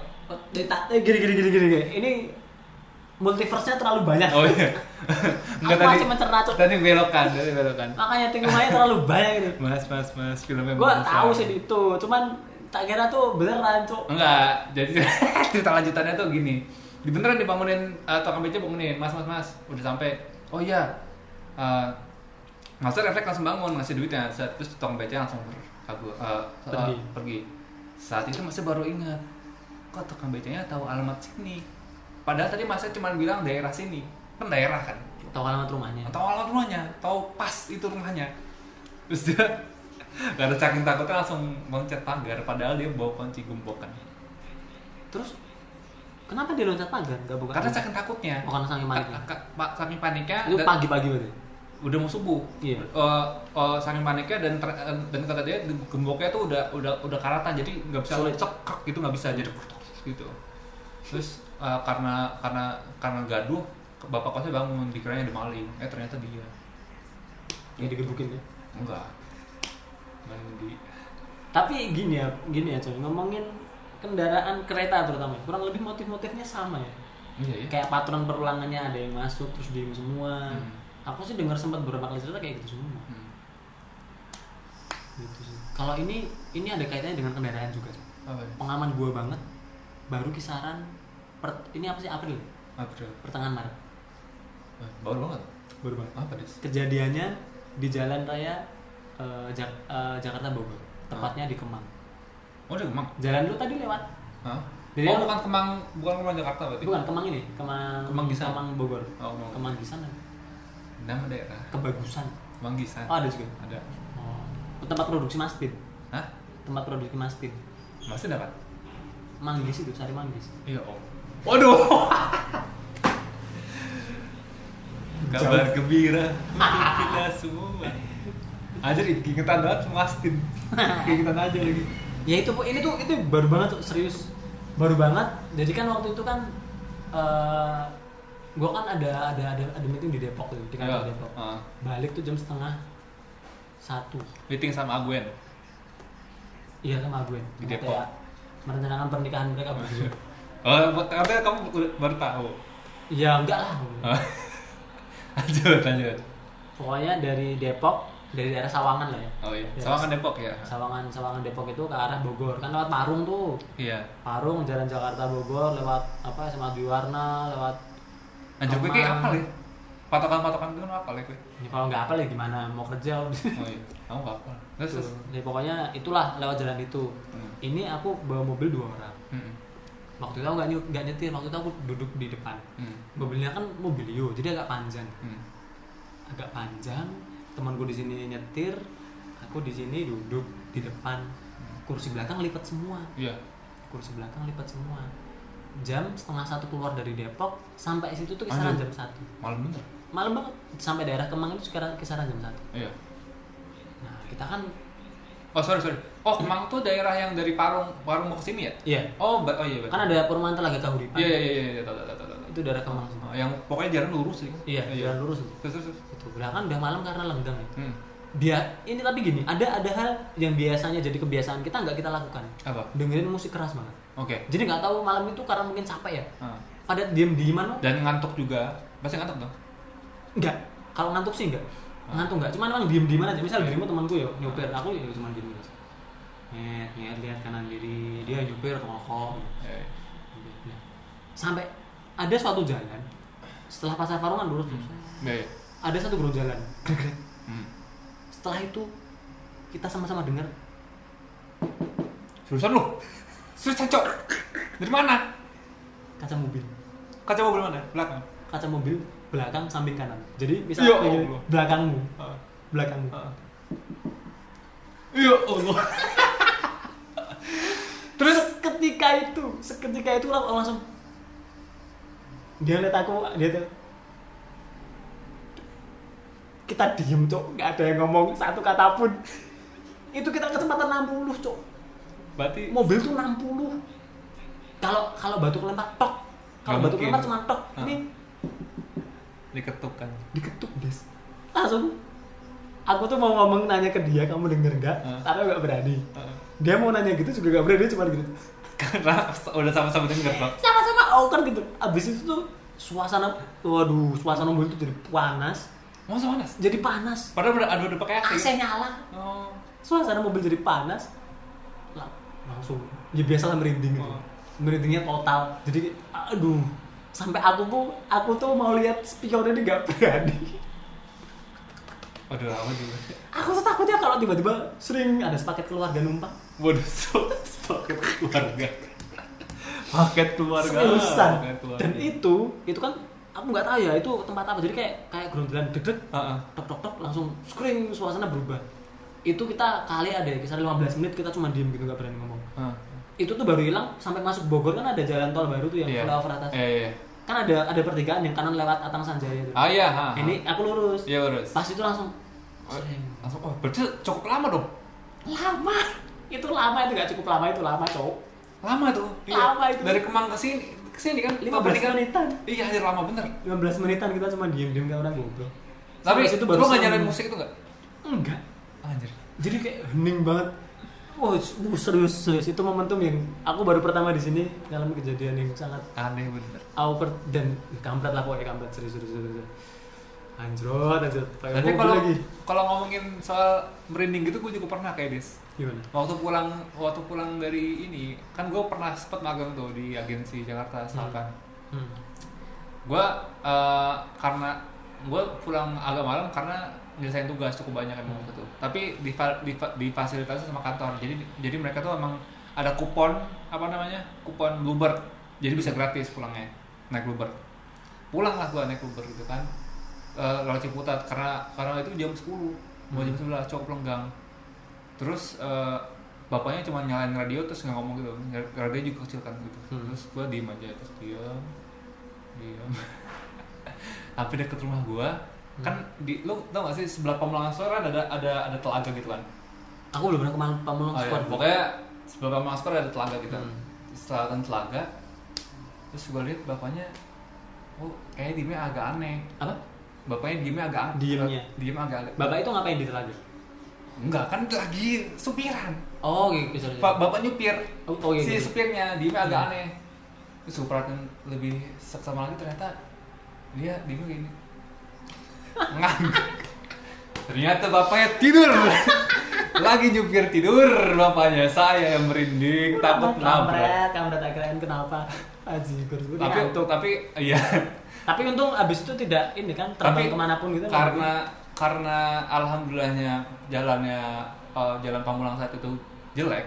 Dita- eh, gini gini gini gini. gini. Ini multiverse-nya terlalu banyak. oh iya Aku masih mencerna, Cok. tadi belokan tadi belokan Makanya tinggungannya terlalu banyak gitu. mas mas mas filmnya Gua mau tahu sih selesai. itu, cuman tak kira tuh beneran, Cuk. enggak jadi *laughs* cerita lanjutannya tuh gini di beneran dibangunin uh, tukang beca bangunin mas mas mas udah sampai oh iya uh, Master refleks langsung bangun ngasih duitnya set terus tukang beca langsung kabur uh, uh, Pergi. pergi saat itu masih baru ingat kok tukang becanya tahu alamat sini padahal tadi Master cuma bilang daerah sini kan daerah kan Tahu alamat rumahnya. tahu alamat rumahnya tahu pas itu rumahnya terus dia *laughs* karena saking takutnya langsung loncat pagar padahal dia bawa kunci gombokan Terus kenapa dia loncat pagar? Enggak buka. karena saking takutnya Oh, karena saking paniknya. Ka- ka- pa- saking paniknya itu dan- pagi-pagi berarti. udah mau subuh Iya. Eh, eh, saking paniknya dan ter- eh, dan kata dia gemboknya tuh udah udah udah karatan jadi nggak bisa Sulit. cekak gitu nggak bisa jadi gitu terus eh, karena karena karena gaduh bapak kosnya bangun dikiranya ada maling eh ternyata dia Ya digebukin ya. enggak mandi Tapi gini ya, gini ya coy, ngomongin kendaraan kereta terutama, ya, kurang lebih motif-motifnya sama ya. iya ya Kayak patron perulangannya ada yang masuk terus diem semua. Hmm. Aku sih dengar sempat beberapa kali cerita kayak gitu semua. Hmm. Gitu sih. Kalau ini ini ada kaitannya dengan kendaraan juga. coy. apa ya? Pengalaman gua banget baru kisaran per- ini apa sih April? April Pertengahan Maret. Eh, baru banget Baru banget. apa des Kejadiannya di jalan raya eh, Jak- eh, Jakarta Bogor, tepatnya di Kemang. oh dia kemang Jalan lu tadi lewat. Hah? Jadi- oh bukan kemang bukan kemang Jakarta berarti Bukan Kemang ini, Kemang Kemang Gisan. Bogor. oh Kemang. Kemang Gisan apa? nama daerah Kebagusan. Manggisan Oh, ada juga. ada Oh. Tempat produksi Mastin. Hah? Tempat produksi Mastin. Masih dapat? Manggis itu, sari manggis. Iya om Waduh kabar gembira untuk kita semua Anjir, keingetan banget sama Astin Keingetan aja lagi ya itu ini tuh itu baru banget tuh serius baru banget jadi kan waktu itu kan eh gue kan ada ada ada ada meeting di Depok tuh di Iya. kantor Depok Heeh. balik tuh jam setengah satu Meeting sama Agwen iya sama gue Di sama Depok. Thea. merencanakan pernikahan mereka berdua Oh, katanya kamu udah- baru tahu ya enggak lah Oh. *laughs* Lanjut, lanjut pokoknya dari Depok dari daerah Sawangan lah ya Oh iya, Ya, Sawangan Depok ya? Sawangan Sawangan Depok itu ke arah Bogor kan lewat Parung tuh Iya Parung jalan Jakarta Bogor lewat apa SMA Biwarna lewat Anjir, gue kayak apa ya? Patokan-patokan itu apa ya gue? ini kalau nggak apa ya gimana mau kerja *laughs* Oh iya, kamu gak apa Terus, Terus, terus ya pokoknya itulah lewat jalan itu. Hmm. Ini aku bawa mobil dua orang. Mm-mm. Waktu itu aku nggak nyu- nggak nyetir, waktu itu aku duduk di depan. Mm. Mobilnya kan mobilio, jadi agak panjang. Mm. Agak panjang. Temanku di sini nyetir, aku di sini duduk di depan. Kursi belakang lipat semua. Iya Kursi belakang lipat semua. Jam setengah satu keluar dari Depok sampai situ tuh kisaran Anjir. jam satu. Malam bener Malam banget sampai daerah Kemang itu sekarang kisaran jam satu. Iya Nah kita kan, Oh sorry sorry. Oh Kemang tuh daerah yang dari Parung Parung mau kesini ya? iya Oh ba- oh iya betul. kan ada perumahan telaga kahuripan. Iya iya iya iya tahu tahu tahu, tahu tahu. Itu daerah Kemang semua. Nah, Yang pokoknya jalan lurus sih. Iya, iya. jalan lurus itu. Terus terus. terus. Itu udah kan udah malam karena lenggang ya. Hmm. Dia ini tapi gini, ada ada hal yang biasanya jadi kebiasaan kita nggak kita lakukan. Apa? Dengerin musik keras banget. Oke. Jadi nggak tahu malam itu karena mungkin capek ya. Ah. Pada diem di mana? Dan ngantuk juga. Pasti ngantuk dong. Enggak. Kalau ngantuk sih enggak. Ngantuk enggak. Cuman emang diem di mana aja. Misal dirimu temanku ya nyopir, aku ya cuma diem aja. Nyet, nyet, lihat kanan kiri, dia nyopir rokok. Iya, iya. Nah, Sampai ada suatu jalan setelah pasar Parungan lurus terus. Iya. iya. Ada satu gerombolan. Greg-greg. Hmm. Setelah itu kita sama-sama dengar Seriusan lu? Serius cocok. Dari mana? kaca mobil, Kaca mobil mana? Belakang. kaca mobil belakang samping kanan. Jadi Ya misalnya kayak gini, Allah. belakangmu, Ah. belakangmu. Ah. Iya Allah. *laughs* Terus ketika itu, seketika itu lang- langsung dia lihat aku, dia tuh kita diem cok, nggak ada yang ngomong satu kata pun. Itu kita kecepatan 60 cok, Berarti mobil tuh 60 kalau kalau batu kelempar tok kalau Nggak batu mungkin. kelempar cuma tok Ah. ini diketuk kan. diketuk des langsung aku tuh mau ngomong nanya ke dia kamu denger nggak Hah? tapi nggak berani Ah. dia mau nanya gitu juga nggak berani dia cuma gitu Karena udah sama-sama denger, Bang. sama-sama oh kan gitu abis itu tuh suasana waduh suasana mobil tuh jadi panas Mau sama Nas? jadi panas Padahal udah aduh udah pakai AC. AC nyala Oh. suasana mobil jadi panas Lah, langsung ya biasalah merinding gitu Oh. merindingnya total jadi aduh sampai aku tuh aku tuh mau lihat spionnya dia nggak berani Waduh lama juga. aku tuh takutnya kalau tiba-tiba sering ada sepaket keluarga numpang Waduh, *laughs* so, paket keluarga. Paket keluarga. seriusan Paket keluarga. dan itu itu kan aku nggak tahu ya itu tempat apa jadi kayak kayak gerombolan deg Heeh. tok tok tok langsung screen suasana berubah itu kita kali ada ya, kisar 15 menit kita cuma diem gitu nggak berani ngomong Heeh. itu tuh baru hilang sampai masuk Bogor kan ada jalan tol baru tuh yang Iya. flyover atas Iya, iya. kan ada ada pertigaan yang kanan lewat Atang Sanjaya itu Ah iya, ha. ha. ini aku lurus Iya, lurus. pas itu langsung Oh, Langsung oh, berarti cukup lama dong. lama *laughs* itu lama itu nggak cukup lama itu lama cowok Lama tuh. iya. Lama itu. Dari Kemang ke sini ke sini kan 15 kan. menitan Iya, anjir lama bener. 15 menitan kita cuma diem diem kayak orang ngobrol Tapi Sampai itu situ lu enggak seneng. nyalain musik itu enggak? enggak Anjir. jadi kayak hening banget Wah, wah, serius, serius itu momentum yang aku baru pertama di sini dalam kejadian yang sangat Aneh bener. aku per- dan kampret lah pokoknya kampret serius serius serius, serius. anjrot anjrot pakai Tapi mobil kalau lagi kalau ngomongin soal merinding gitu gue juga pernah kayak Des. gimana waktu pulang waktu pulang dari ini kan gue pernah sempet magang tuh di agensi Jakarta Selatan hmm. gue eh, karena gue pulang agak malam karena nyelesain tugas cukup banyak emang waktu itu tapi di, di, difasilitasi sama kantor jadi jadi mereka tuh emang ada kupon apa namanya kupon bluebird jadi bisa gratis pulangnya naik bluebird pulang lah gue naik bluebird gitu kan Eh, lewat Ciputat karena karena itu jam 10 mau jam 11 cukup lenggang terus eh, bapaknya cuma nyalain radio terus nggak ngomong gitu radio juga kecil kan gitu Hmm. *laughs* terus gue diem aja terus diam diam hampir deket rumah gua Hmm. kan di lu tau gak sih sebelah Pamulang Square kan ada ada ada telaga gitu kan Aku belum pernah ke Mal- Oh, Pamulang iya. Squad. pokoknya sebelah Pamulang Square ada telaga gitu Hmm. setelah kan telaga terus gua lihat bapaknya oh kayaknya diemnya agak aneh Apa? bapaknya diemnya agak Diemnya. diem agak agak Bapak itu ngapain di telaga? enggak kan lagi supiran Oh, oke, oke, sorry. Pak bapak nyupir. Oh, oh, iya, si iya. supirnya dia agak Iya. aneh. Terus gue perhatiin lebih seksama lagi ternyata dia dia kayak gini. Ngantuk. ternyata bapaknya tidur. lagi nyupir tidur bapaknya saya yang merinding takut nabrak. Kampret, kampret akhirnya kenapa? Aji, gue Tapi untuk tapi iya Tapi untung abis itu tidak ini kan terbang tapi kemanapun gitu. karena karena alhamdulillahnya jalannya eh, jalan Pamulang saat itu jelek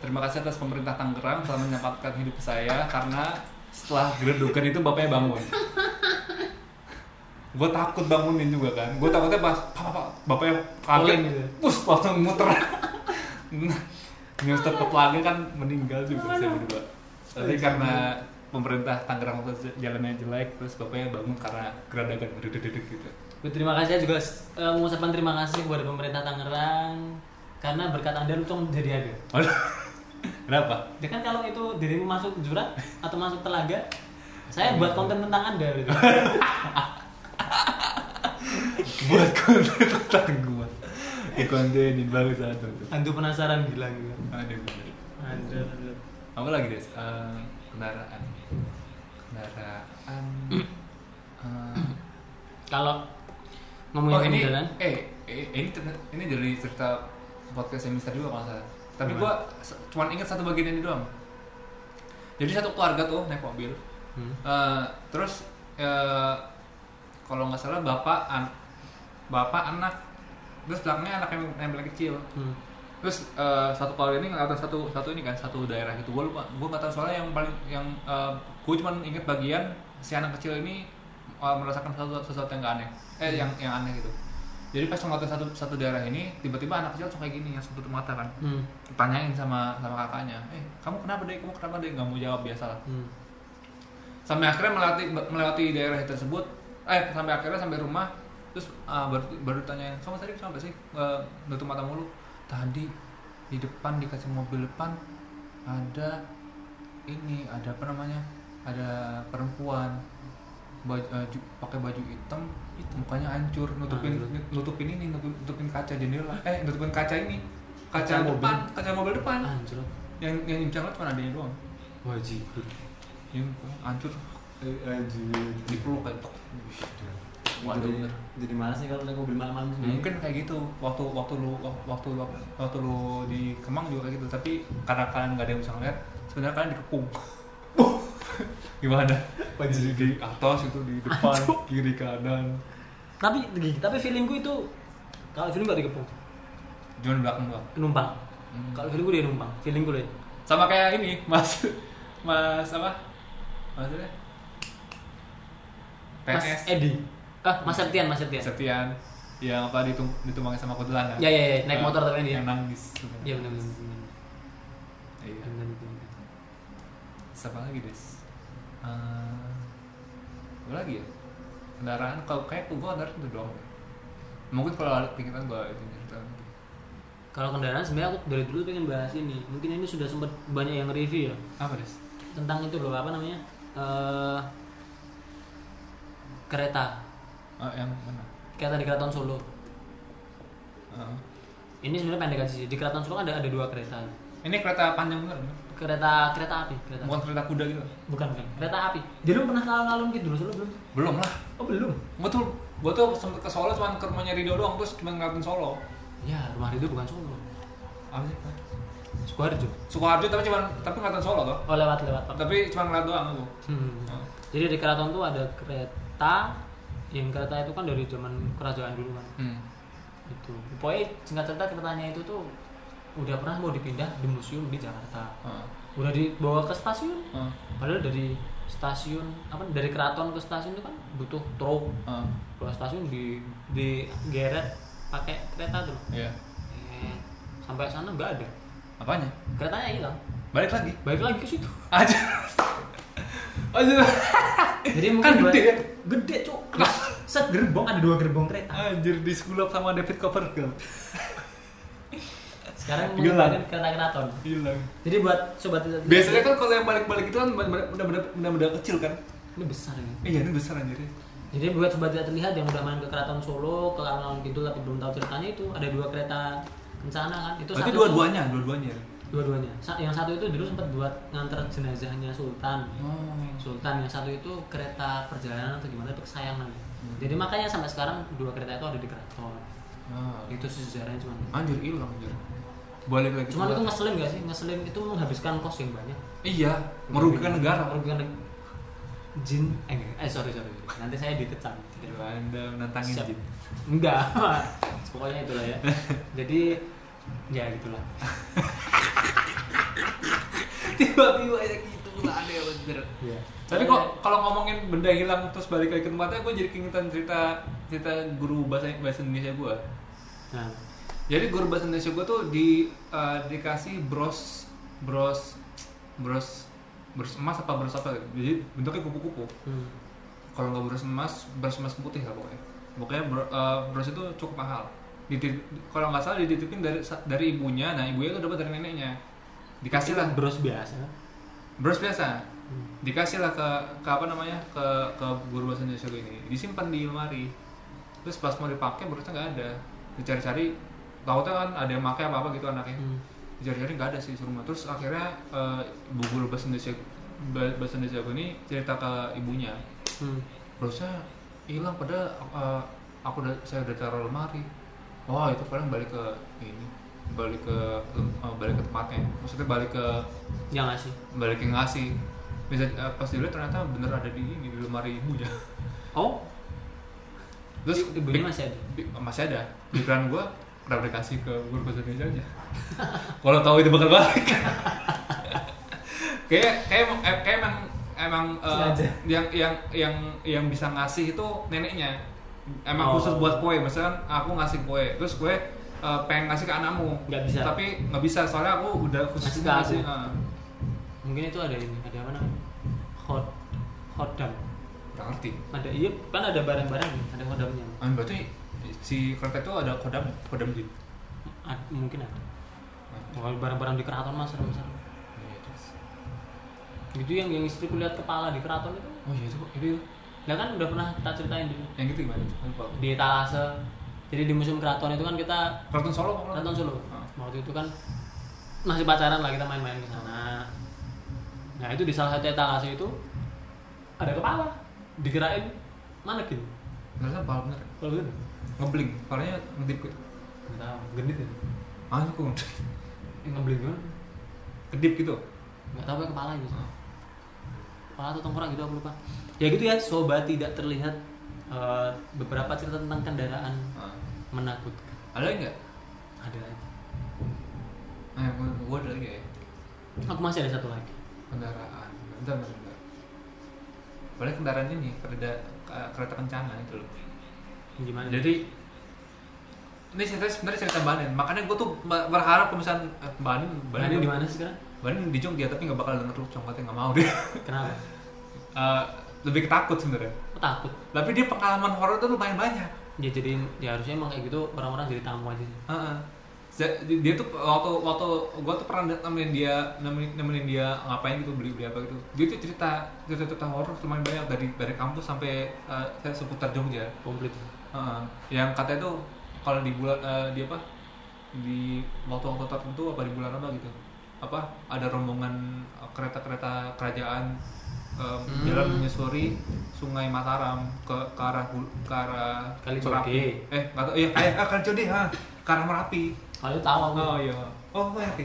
terima kasih atas pemerintah Tangerang telah menyelamatkan hidup saya karena setelah geredukan itu bapaknya bangun gue takut bangunin juga kan gue takutnya pas pak pak, pak, bapaknya kaget Oleng gitu. pus langsung muter Nah, nyuster ke telaga kan meninggal juga saya berdua tapi karena pemerintah Tangerang waktu jalannya jelek terus bapaknya bangun karena geradagan gedededek gitu Terima kasih juga eh, mengucapkan terima kasih kepada pemerintah Tangerang karena berkat Anda Lucong jadi ada. Waduh. *laughs* Kenapa? Ya kan kalau itu dirimu masuk jurang atau masuk telaga, saya buat konten tentang Anda *laughs* gitu. Buat konten tentang gua. Di kontenin bagus satu. Anda penasaran bilang gitu. Ada bener. Anda Apa lagi Des? Eh, kendaraan. Kendaraan. Eh, kalau ngomongin oh ini, kendaraan, eh, eh, ini ternyata- ini dari cerita podcast yang Mister juga kalau nggak salah. Tapi gua se- cuman ingat satu bagian ini doang. Jadi satu keluarga tuh naik mobil. Hmm. Eh, terus eh, kalau nggak salah bapak an- bapak anak terus belakangnya anak yang, yang paling kecil Hmm. terus eh, satu kalau ini atau satu satu ini kan satu daerah gitu gue lupa gue nggak tahu soalnya yang paling yang gue cuman inget bagian si anak kecil ini eh, merasakan sesuatu, sesuatu yang gak aneh eh yang yang aneh gitu jadi pas ngeliatin satu satu daerah ini tiba-tiba anak kecil langsung kayak gini yang tutup mata kan Hmm. tanyain sama sama kakaknya eh kamu kenapa deh kamu kenapa deh nggak mau jawab biasalah Hmm. sampai akhirnya melewati melewati daerah tersebut eh sampai akhirnya sampai rumah terus ah, baru baru tanyain kamu tadi kenapa sih Eh, nutup mata mulu tadi di depan dikasih mobil depan ada ini ada apa namanya ada perempuan baju, eh, ju- pakai baju hitam hitam mukanya hancur nutupin nutupin ini nutupin, nutupin kaca jendela eh nutupin kaca ini kaca, Kaca mobil. depan kaca mobil depan Anjir. yang yang cuma cuma adanya doang Wajib. yang hancur Eh, Anjir. dipeluk kayak Waduh. Jadi, jadi malas nih kalau naik mobil malam-malam Hmm. sendiri. mungkin kayak gitu waktu waktu lu waktu lu waktu lu di Kemang juga kayak gitu tapi karena kalian nggak ada yang bisa ngeliat sebenarnya kalian dikepung *laughs* gimana di, di atas itu di depan kiri kanan Tapi tapi feelingku itu kalau feeling gak dikepung, cuman belakang doang numpang. Hmm. Kalau feeling gue dia numpang, feeling gue dia. sama kayak ini mas mas apa maksudnya Mas PNS Edi. Ah, Mas Septian, Mas Septian. Septian yang apa ditum ditumpangi sama kuntilanak Ya, ya, ya, Eh, naik motor tapi dia. yang nangis Iya benar benar. Iya. benar, benar. siapa lagi des Eh, apa lagi ya kendaraan kalau kayak gue kendaraan itu doang deh. mungkin kalau ada pikiran gue itu cerita lagi. Kalau kendaraan sebenarnya aku dari dulu pengen bahas ini. Mungkin ini sudah sempat banyak yang review ya apa des tentang itu loh apa namanya? Eh kereta. Eh, yang mana Kereta di Keraton Solo. Eh, Ini sebenarnya pendek aja sih. Di Keraton Solo kan ada ada dua kereta. ini kereta panjang bener kan? Kereta kereta api, kereta. bukan kereta kuda gitu Bukan, bukan. Kereta api. Jadi lu pernah ke alun gitu dulu Solo belum? belum lah Oh, belum. gue tuh gue tuh sempet ke Solo cuma ke rumahnya Rido doang terus cuma ngeliatin Solo Ya, rumah itu bukan Solo. apa sih Sukoharjo. Sukoharjo tapi cuma tapi ngeliatin Solo tuh Oh, lewat lewat Pak. tapi cuma ngeliat doang gue Hmm. Oh. Jadi di keraton tuh ada kereta yang kereta itu kan dari zaman kerajaan dulu kan hmm. itu pokoknya singkat cerita keretanya itu tuh udah pernah mau dipindah di museum di Jakarta Eh, udah dibawa ke stasiun eh, padahal dari stasiun apa dari keraton ke stasiun itu kan butuh truk eh, kalau stasiun di di geret pakai kereta tuh iya Eh, sampai sana nggak ada apanya keretanya hilang balik lagi balik lagi ke situ aja aja jadi Kan mungkin buat- gede ya? gede cuk set gerbong ada dua gerbong kereta Anjir di sekolah sama David Copperfield. sekarang Gila. menggunakan kereta keraton Gila. jadi buat sobat tidak Biasanya kan kalau yang balik-balik itu kan benda-benda benda-benda kecil kan. ini besar ini Eh, iya ini besar anjir. ya. Jadi buat sobat tidak terlihat yang udah main ke Keraton Solo, ke Keraton Kidul tapi belum tahu ceritanya itu ada dua kereta kencana kan. Itu Berarti satu dua-duanya, dua-duanya. tuh- dua-duanya. Sa- Yang satu itu dulu sempat buat nganter jenazahnya Sultan. Oh. Sultan yang satu itu kereta perjalanan atau gimana itu kesayangan. Jadi makanya sampai sekarang dua kereta itu ada di Keraton. Ah. Itu sejarahnya cuma. Anjir hilang anjir. Balik lagi. Cuman ke itu belakang. ngeselin gak sih? Ngeselin itu menghabiskan kos yang banyak. Iya, merugikan negara. Merugikan neg- Jin, eh, enggak. eh sorry sorry, nanti saya dikecam. Anda menantangin Siap. jin. Enggak. *laughs* Pokoknya itulah *laughs* ya. Jadi ya gitulah. *laughs* Tiba-tiba ya gitu lah ada yang bener. Iya. Tapi kok kalau ngomongin benda hilang terus balik lagi ke tempatnya, gue jadi keingetan cerita cerita guru bahasa bahasa Indonesia gue. Nah, Jadi guru bahasa Indonesia gue tuh di eh, dikasih bros bros bros bros emas apa bros apa gitu. jadi bentuknya kupu-kupu hmm. kalau nggak bros emas bros emas putih lah pokoknya pokoknya bro- eh, bros itu cukup mahal Dititip- kalau nggak salah dititipin dari sa- dari ibunya nah ibunya itu dapat dari neneknya dikasih lah bros biasa. bros biasa Hmm. dikasih lah ke, ke apa namanya ke ke guru bahasa Indonesia gue ini disimpan di lemari terus pas mau dipakai brosnya nggak ada dicari-cari takutnya kan ada yang pakai apa apa gitu anaknya Hmm. dicari-cari nggak ada sih di rumah terus akhirnya eh, ibu guru bahasa Indonesia bah- bahasa Indonesia gue ini cerita ke ibunya Hmm. brosnya hilang padahal eh, aku udah saya udah taruh lemari oh itu paling balik ke ini balik ke eh, balik ke tempatnya maksudnya balik ke Ya nggak sih? balik yang ngasih bisa eh, pas dilihat ternyata bener ada di ini di lemari ibunya Oh, terus i- ibunya masih ada. bi- masih ada pikiran gue kenapa dikasih ke guru bahasa Indonesia aja kalau tahu itu bakal balik *laughs* kayak kayak emang eh, kayak emang emang eh, Sengaja. yang yang yang yang bisa ngasih itu neneknya emang Oh. khusus buat kue misalkan aku ngasih kue terus kue eh, pengen ngasih ke anakmu Nggak bisa. tapi nggak bisa soalnya aku udah khusus Ngasih ke aku. eh. Mungkin itu ada ini, ada apa namanya? Hot hodam. nggak ngerti Ada iya, kan ada barang-barang, nih, ada hodamnya. Ah, berarti si kereta itu ada kodam, kodam gitu? jin. Ad- mungkin ada. Kalau barang-barang di keraton mas serem-serem. Itu yang yang istriku lihat kepala di keraton itu. Oh iya itu itu Ya kan udah pernah kita ceritain dulu yang gitu gimana? Lupa. di Talase. Jadi di museum keraton itu kan kita Keraton Solo apa? Nonton Solo. Ah. Waktu itu kan masih pacaran lah kita main-main ke sana. Nah, itu di salah satu etalase itu ada kepala dikirain manekin. Ternyata pal bener. Kalau gitu Ngebling, palanya ngedip gitu. enggak tahu, genit ya. Ah, aku Eh, ngebling kan. *laughs* kedip gitu. Enggak tahu ya kepalanya. Kepala atau tengkorak gitu aku lupa. Ya gitu ya, sobat tidak terlihat eh, beberapa cerita tentang kendaraan Ah. menakutkan. Ada lagi nggak? Ada lagi. Eh, gua, gua ada lagi ya. Aku masih ada satu lagi. Kendaraan. Bentar, bentar, bentar. Paling kendaraan ini kereta kereta kencana itu loh. Gimana? Ah, Jadi ini cerita sebenarnya cerita Banin. Makanya gue tuh berharap kalau misalnya eh, Banin, Bahannya di mana sih sekarang? Banin di Jogja tapi nggak bakal denger lu Cong, katanya nggak mau *laughs* dia. Kenapa? Eh, lebih ketakut sebenarnya. Aku takut. Tapi dia pengalaman horor tuh lumayan banyak. ya jadi ya harusnya emang kayak gitu orang-orang jadi tamu aja sih Heeh. Ja- Dia tuh waktu waktu gue tuh pernah nemenin dia nemenin, nemenin dia ngapain gitu beli beli apa gitu. Dia tuh cerita cerita cerita horor lumayan banyak dari dari kampus sampai eh, saya seputar Jogja. komplit Heeh. Yang katanya tuh kalau di bulan eh, di apa di waktu-waktu tertentu apa di bulan apa gitu apa ada rombongan eh, kereta-kereta kerajaan eh, Hmm. jalan menyusuri Sungai Mataram ke ke arah Hul- ke arah Kalijodo. Merapi. Eh, nggak tahu. Iya, kayak ah, Kalijodo, ha. Ke arah Merapi. kalau tahu aku Oh iya. Oh, Merapi.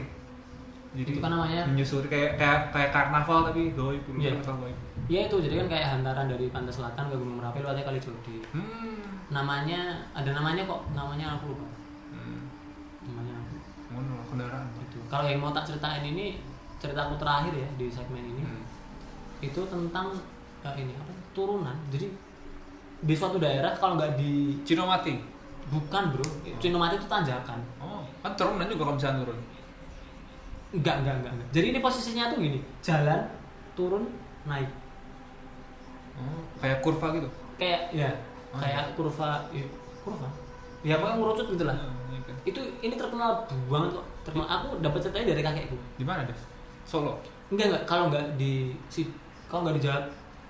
Jadi Itu kan namanya- menyusuri kayak kayak kayak karnaval tapi goib dulu Iya. karnaval goib. ya itu jadi kan kayak hantaran dari pantai selatan ke gunung merapi lewatnya kali jodi Hmm. namanya ada namanya kok namanya aku lupa Hmm. namanya aku Ngono kendaraan. gitu kalau yang mau tak ceritain ini ceritaku terakhir ya di segmen ini Hmm. itu tentang eh, ini apa turunan jadi di suatu daerah kalau nggak di Cino mati. bukan bro Cinomati itu tanjakan Oh, kan turunan juga kalau misalnya turun. Enggak, enggak, enggak. enggak. Jadi ini posisinya tuh gini, jalan, turun, naik. Oh, kayak kurva gitu. kayak ya Oh, kayak kurva ya, kurva ya pokoknya ngurucut gitu lah Hmm, gitu. itu ini terkenal banget kok terkenal aku dapat ceritanya dari kakekku Di mana, Des? Solo. enggak enggak kalau enggak di si kalau enggak di Jawa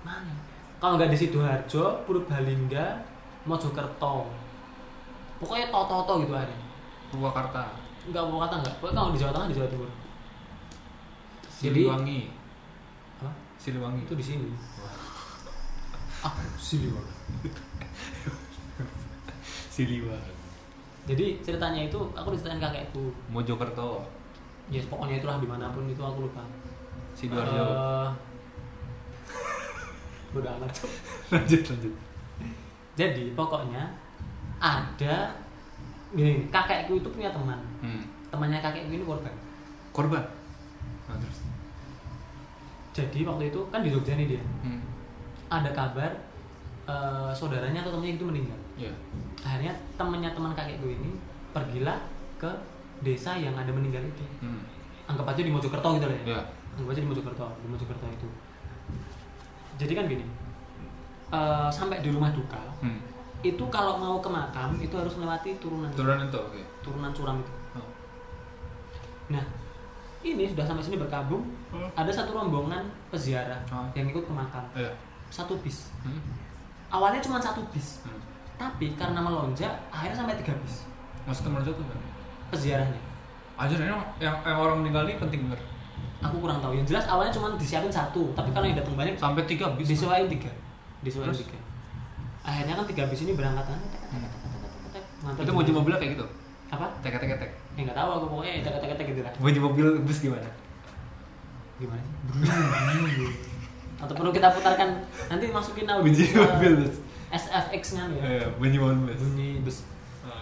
mana ya? kalau enggak di sidoarjo purbalingga mojokerto pokoknya toto-toto gitu ada Purwakarta. enggak mau kata enggak pokoknya kalau di jawa tengah di jawa timur Jadi- Siliwangi. Hah? Siliwangi. itu di sini ah siliwangi Siliwangi. jadi ceritanya itu aku diceritain kakekku Mojokerto. ya pokoknya itulah dimanapun itu aku lupa Sidoarjo. Eh, *laughs* Bodoh amat Cuk. lanjut, lanjut. jadi pokoknya ada gini kakekku itu punya teman Hmm. temannya kakekku ini korban Korban. Nah, terus. jadi waktu itu kan di Jogja nih dia Hmm. ada kabar eh, saudaranya atau temannya itu meninggal Ya. akhirnya temannya teman kakekku ini pergilah ke desa yang ada meninggal itu Hmm. anggap aja di Mojokerto gitu lah ya Ya. anggap aja di Mojokerto di Mojokerto itu jadi kan gini eh, sampai di rumah duka Hmm. itu kalau mau ke makam itu harus melewati turunan Turunan itu, oke. turunan curam itu Oh. nah ini sudah sampai sini berkabung Hmm. ada satu rombongan peziarah Oh. yang ikut ke makam Ya. satu bis Hmm. awalnya cuma satu bis Hmm. tapi karena melonjak akhirnya sampai tiga bis Maksudnya menurut tuh kan? peziarahnya Ajar ini yang, yang orang meninggal ini penting bener. aku kurang tahu yang jelas awalnya cuma disiapin satu tapi karena yang datang banyak Sampai tiga bis. disewain tiga disewain Terus? tiga akhirnya kan tiga bis ini berangkat kan tek, tek, tek, tek, tek, tek, tek, tek. Ngantar Itu jemaah. mobil mobilnya kayak gitu. apa Tek tek tek. ya nggak tahu aku pokoknya tek tek tek gitu lah Mobil mobil bus gimana? gimana sih atau perlu kita putarkan nanti masukin audio Bunyi ke mobil bus. SFX nya ya Iya, bunyi mobil bus. bunyi bus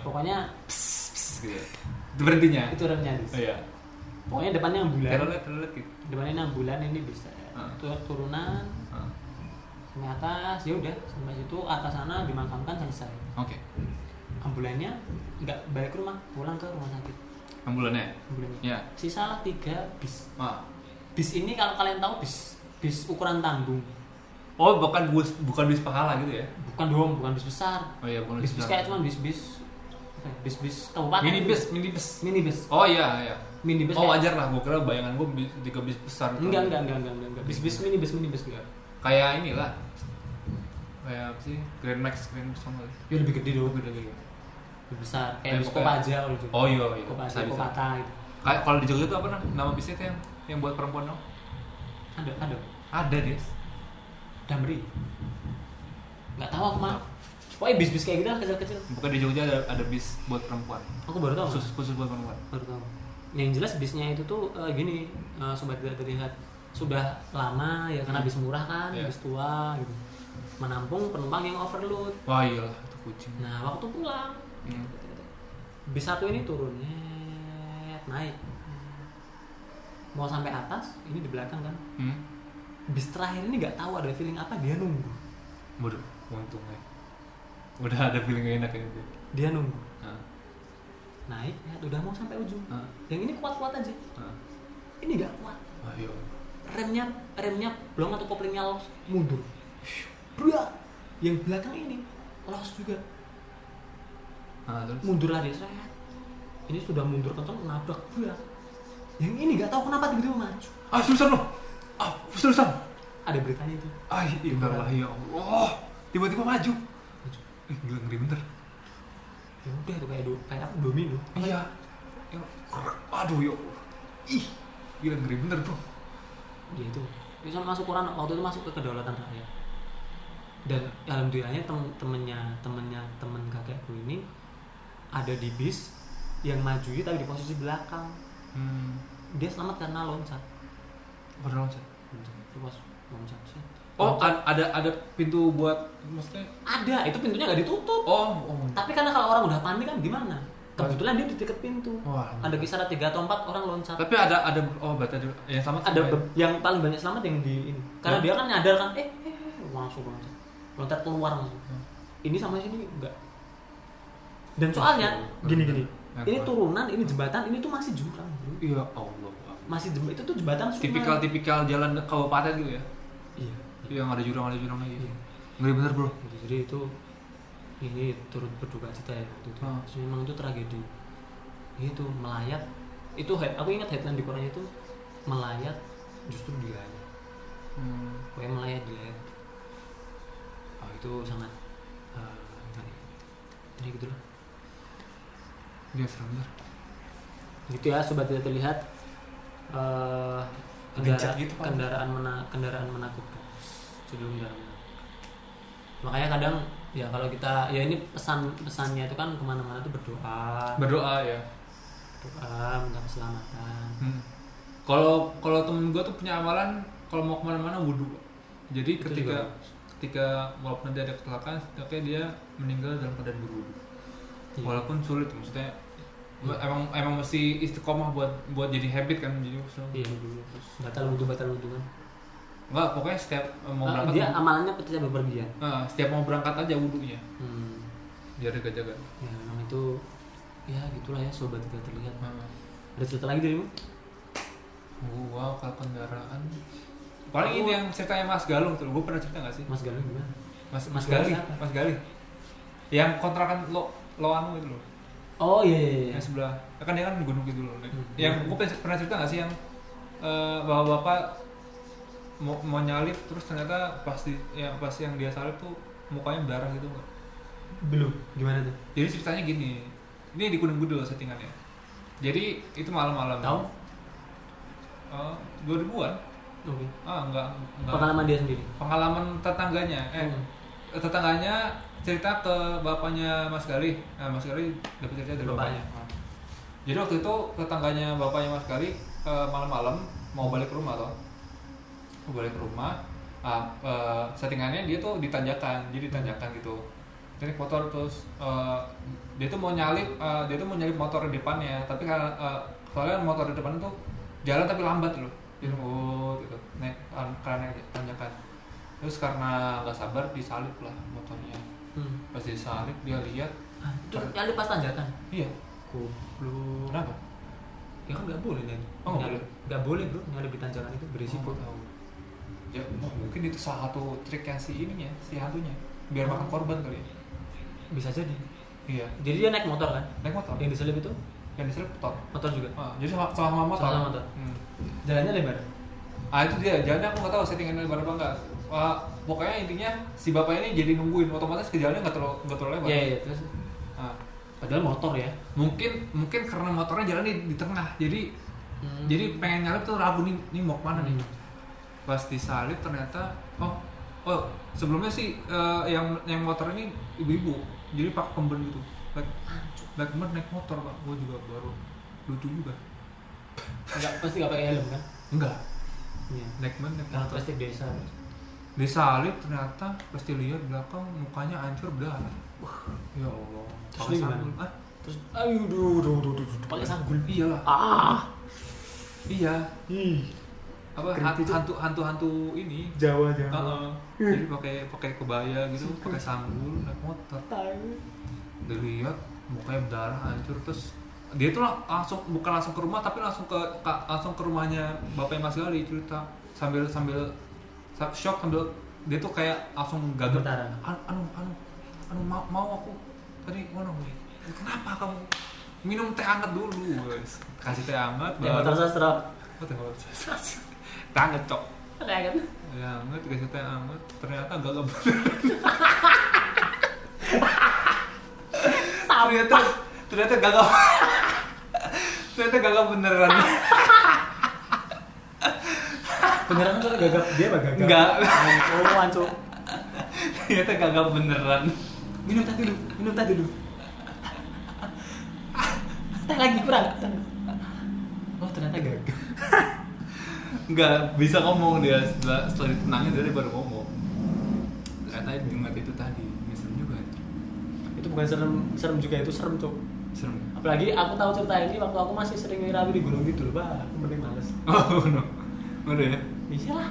pokoknya Pss, pss, gitu. Itu berhentinya. itu remnya bis Iya. pokoknya depannya ambulan Telolet telolet gitu. depannya enam bulan ini bisa Ah. Itu ya, turunan Ah, sampai atas ya udah sampai situ atas sana dimakamkan selesai Oke. ambulannya nggak balik ke rumah pulang ke rumah sakit Ambulannya. ambulannya Iya. sisalah tiga bis Ah. bis ini kalau kalian tahu bis bis ukuran tanggung Oh, bukan bus bukan bus pahala gitu ya. bukan dong bukan bis besar Oh iya, bukan bis bis kayak cuma bis bis bis bis ya, kabupaten mini bus, mini bus. mini bis Oh iya, iya. mini bis Oh kayak- wajar lah, gue kira bayangan gue tiga bis besar gitu. enggak enggak enggak enggak enggak, enggak. bis bis mini bis mini bis enggak Kayak inilah. Kayak apa sih? Grand Max, Grand Max sama. ya lebih gede dong Lebih gede. lebih besar Ya, kayak bis pokoknya. kopaja kalau gitu Oh iya, iya. kopaja Bisa, bisa. kopata gitu Kayak kalau di Jogja itu apa nah, nama bisnya tuh yang yang buat perempuan dong? ada ada Ada deh. damri nggak tahu aku mah pokoknya bis bis kayak gitu lah kecil kecil Bukan di Jogja ada ada bis buat perempuan. aku baru tahu Khusus Mas. khusus buat perempuan. baru tahu yang jelas bisnya itu tuh eh, gini eh, sobat tidak terlihat sudah lama ya karena bis murah kan Iya. bis tua gitu menampung penumpang yang overload Wah iyalah itu kucing. nah waktu pulang Hmm. bis satu ini turun nyet, naik mau sampai atas ini di belakang kan Hmm. bis terakhir ini nggak tahu ada feeling apa dia nunggu Bodoh, untungnya. Udah ada feeling gak enak ya, ini. tuh. dia nunggu Ah, naik nyet, udah mau sampai ujung ah, yang ini kuat-kuat aja ah. ini nggak kuat Wah iya. remnya remnya belum atau koplingnya los mundur Brak! yang belakang ini los juga Ah, terus. mundur lagi seret ini sudah mundur kencang nabrak Brak! yang ini nggak tahu kenapa tiba-tiba maju Ah susah loh. Ah susah. ada beritanya itu Ah ibarat ya Allah. Tiba-tiba maju. Ih, gila ngeri bener. ya udah itu kayak do- kayak apa domino Iya. Ya, aduh ya. Allah. Ih, gila ngeri bener bro. ya itu itu sama masuk koran waktu itu masuk ke kedaulatan rakyat dan alhamdulillahnya tem temennya temennya temen kakekku ini ada di bis yang maju itu tapi di posisi belakang Hmm. dia selamat karena loncat Baru loncat. loncat itu pas loncat sih Oh, kan ada ada pintu buat maksudnya? ada itu pintunya nggak ditutup Oh, oh. tapi karena kalau orang udah panik kan gimana kebetulan dia di dekat pintu Wah. ada kisaran tiga atau empat orang loncat Tapi ada ada oh berarti ada yang sama ada be- yang paling banyak selamat yang di ini karena Ya. dia kan nyadar kan eh, eh, eh, langsung loncat loncat keluar langsung Hmm. ini sama sini enggak dan soalnya Hmm. gini gini Yang ini keluar. turunan ini jembatan ini tuh masih jurang bro. Iya Allah. masih jembatan itu tuh jembatan sungai Tipikal-tipikal jalan kabupaten gitu ya. iya Yang ada jurang ada jurang lagi. Iya. ngeri bener bro jadi itu ini turut berduka cita ya waktu itu Ah. Terus memang itu tragedi itu melayat itu head- aku ingat headline di korannya itu melayat justru dilayat Hmm. pokoknya melayat dilayat oh, itu sangat eh, ngeri ngeri gitu loh dia Iya, serem bener gitu ya sobat tidak terlihat eh Ngejek kendara- gitu, Pak. kendaraan mena- kendaraan menakutkan judul kendaraan menakutkan. makanya kadang ya kalau kita ya ini pesan pesannya itu kan kemana-mana tuh berdoa berdoa ya berdoa minta keselamatan Hmm. kalau kalau temen gue tuh punya amalan kalau mau kemana-mana wudhu jadi Itu ketika juga ketika walaupun nanti ada kecelakaan setidaknya dia meninggal dalam keadaan berwudhu Iya. walaupun sulit maksudnya emang emang mesti istiqomah buat buat jadi habit kan jadi maksudnya Iya. wudhu dulu. batal wudhu batal wudhu kan Enggak, pokoknya setiap eh, mau Ah, berangkat dia amalannya ketika bepergian eh, setiap mau berangkat aja wudhunya hmm. biar jaga-jaga ya memang itu ya gitulah ya sobat tidak terlihat Hmm. ada cerita lagi darimu Gua kalau kendaraan paling ini yang ceritanya Mas Galung tuh, gua pernah cerita gak sih? mas Galuh gimana Mas Mas Mas, Galih, Galih siapa? Mas Galih. Yang kontrakan lo lo anu itu loh, oh iya iya iya yang sebelah. Ya Kan dia kan gunung gitu loh. Nek. Hmm. Yang gua pernah- pernah cerita gak sih yang eh, bapak-bapak mau, mau nyalip terus ternyata pasti yang pasti yang dia salip tuh mukanya berdarah gitu nggak? belum gimana tuh Jadi ceritanya gini, ini di Gunung Kidul settingannya. Jadi itu malam-malam. tahu Eh, 2000-an? oke Ah enggak, enggak. pengalaman dia sendiri pengalaman tetangganya eh Hmm. tetangganya cerita ke bapaknya Mas Galih nah Mas Galih dapat cerita dari Bapaknya. bapaknya, jadi waktu itu tetangganya bapaknya Mas Galih eh, malam-malam mau balik ke rumah toh mau balik ke rumah ah, eh, settingannya dia tuh ditanjakan jadi ditanjakan gitu jadi naik motor terus eh, dia tuh mau nyalip eh, dia tuh mau nyalip motor di depannya tapi karena eh, soalnya motor di depan tuh jalan tapi lambat loh jadi oh gitu naik kan- karena naik tanjakan terus karena nggak sabar disalip lah motornya hmm. pas disalip dia lihat Ah, itu nyali pas tanjakan iya goblok kenapa ya kan nggak boleh lagi Oh, nggak Nyali- boleh. nggak boleh bro nyali di tanjakan itu berisiko Oh, nggak tahu ya oh, mungkin itu salah satu triknya si ininya si hantunya Oh. biar makan korban kali ya bisa jadi iya jadi dia naik motor kan naik motor yang diselip itu yang diselip motor motor juga Ah, jadi sama, sama motor. Sama motor. Hmm. Oh, jalannya lebar Ah itu dia. Jalannya aku nggak tahu settingannya lebar apa enggak. Ah, pokoknya intinya si bapak ini jadi nungguin otomatis ke jalannya nggak terlalu nggak terlalu lebar. iya iya terus Ah, padahal motor ya mungkin mungkin karena motornya jalan di, di tengah jadi Hmm. jadi pengen nyalip tuh ragu nih nih mau kemana nih. Hmm. Pas disalip ternyata oh oh sebelumnya sih eh, yang yang motor ini ibu-ibu jadi pak kemben gitu. Pak Pak kemben naik motor pak. Gue juga baru lucu juga. nggak pasti nggak pakai helm kan Enggak. iya Naik kemben naik karena motor. pasti desa disalib ternyata pasti lihat belakang mukanya hancur berdarah ya allah Terus pakai dia gimana? sanggul ah terus ayo duh duh duh duh, duh pakai sanggul iya lah ah iya ih apa Keren hantu gitu. Ya hantu hantu hantu ini Jawa Heeh. jadi pakai pakai kebaya gitu pakai sanggul naik motor dilihat mukanya berdarah hancur terus dia tuh lang- langsung bukan langsung ke rumah tapi langsung ke ka- langsung ke rumahnya bapaknya Mas Gali cerita sambil sambil sa- shock sambil dia tuh kayak langsung gagal Getaran. anu anu anu anu mau, mau aku tadi ngono gue kenapa kamu minum teh hangat dulu guys kasih teh hangat ya motor baru sastra oh, teh hangat *laughs* teh hangat cok kan teh hangat kasih teh hangat ternyata gagal ternyata ternyata gagal ternyata gagal beneran beneran tuh *laughs* gagap dia apa gagap Nggak. oh anco ternyata gagal beneran minum teh dulu minum teh dulu teh lagi kurang oh ternyata gagap nggak bisa ngomong dia setelah, setelah ditenangin dia baru ngomong ternyata jumat itu tadi ini serem juga ya. itu bukan serem serem juga itu serem cok serem ya? apalagi aku tahu cerita ini waktu aku masih sering ngirawi di gunung gitu loh bah aku mending males oh *laughs* no udah ya iya lah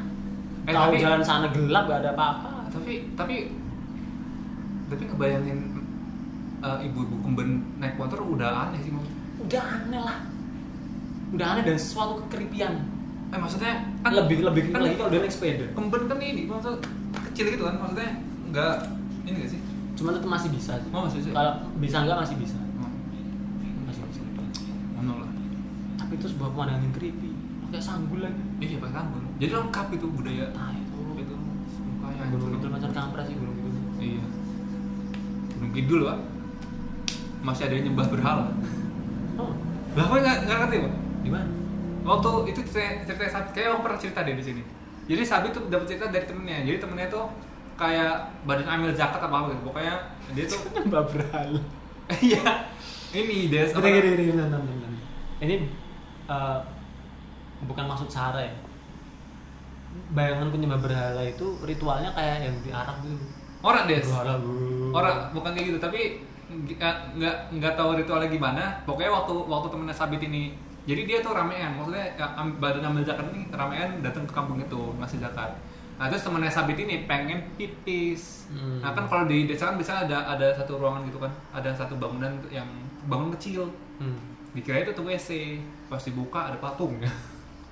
Eh, tahu tapi- jalan sana gelap gak ada apa-apa tapi tapi tapi ngebayangin eh, ibu-ibu kemben naik motor udah aneh sih maksudnya udah aneh lah udah aneh dan suatu kekeripian eh maksudnya lebih lebih kan lagi kalau udah naik sepeda kemben kan ini maksudnya kecil gitu kan maksudnya nggak ini nggak sih? Cuman tetap masih bisa sih. Oh, masih bisa. Kalau bisa enggak masih bisa. Hmm, Masih bisa. Ngono lah. Tapi itu sebuah pemandangan yang creepy. Pakai sanggul lagi. Iya pakai tanggul. Jadi lengkap itu budaya Nah, itu itu mukanya. gunung itu macam kampret sih gunung itu. Iya. Gunung Kidul pak. Masih ada yang nyembah berhala. Oh, Lah kok nggak nggak ngerti pak? di mana? Waktu itu cerita, cerita Sabi, kayak orang pernah cerita deh di sini. Jadi Sabi tuh dapat cerita dari temennya. Jadi temennya tuh kayak badan amil zakat apa apa gitu. Pokoknya dia tuh *laughs* Mbak berhala. iya ini dia Gini, gini, gini, gini, gini, gini. Ini eh, bukan maksud sara ya. Bayangan penyembah berhala itu ritualnya kayak yang di Arab dulu. orang des Berhala. wuh. orang bukan kayak gitu tapi nggak- nggak nggak tahu ritualnya gimana pokoknya waktu waktu temennya Sabit ini jadi dia tuh ramean maksudnya ya, am- badan ambil zakat ini ramean datang ke kampung itu ngasih zakat nah terus temennya Sabit ini pengen pipis Hmm. nah kan kalau di desa kan bisa ada ada satu ruangan gitu kan ada satu bangunan yang bangun kecil Hmm. dikira itu tuh WC pas dibuka ada patung *laughs*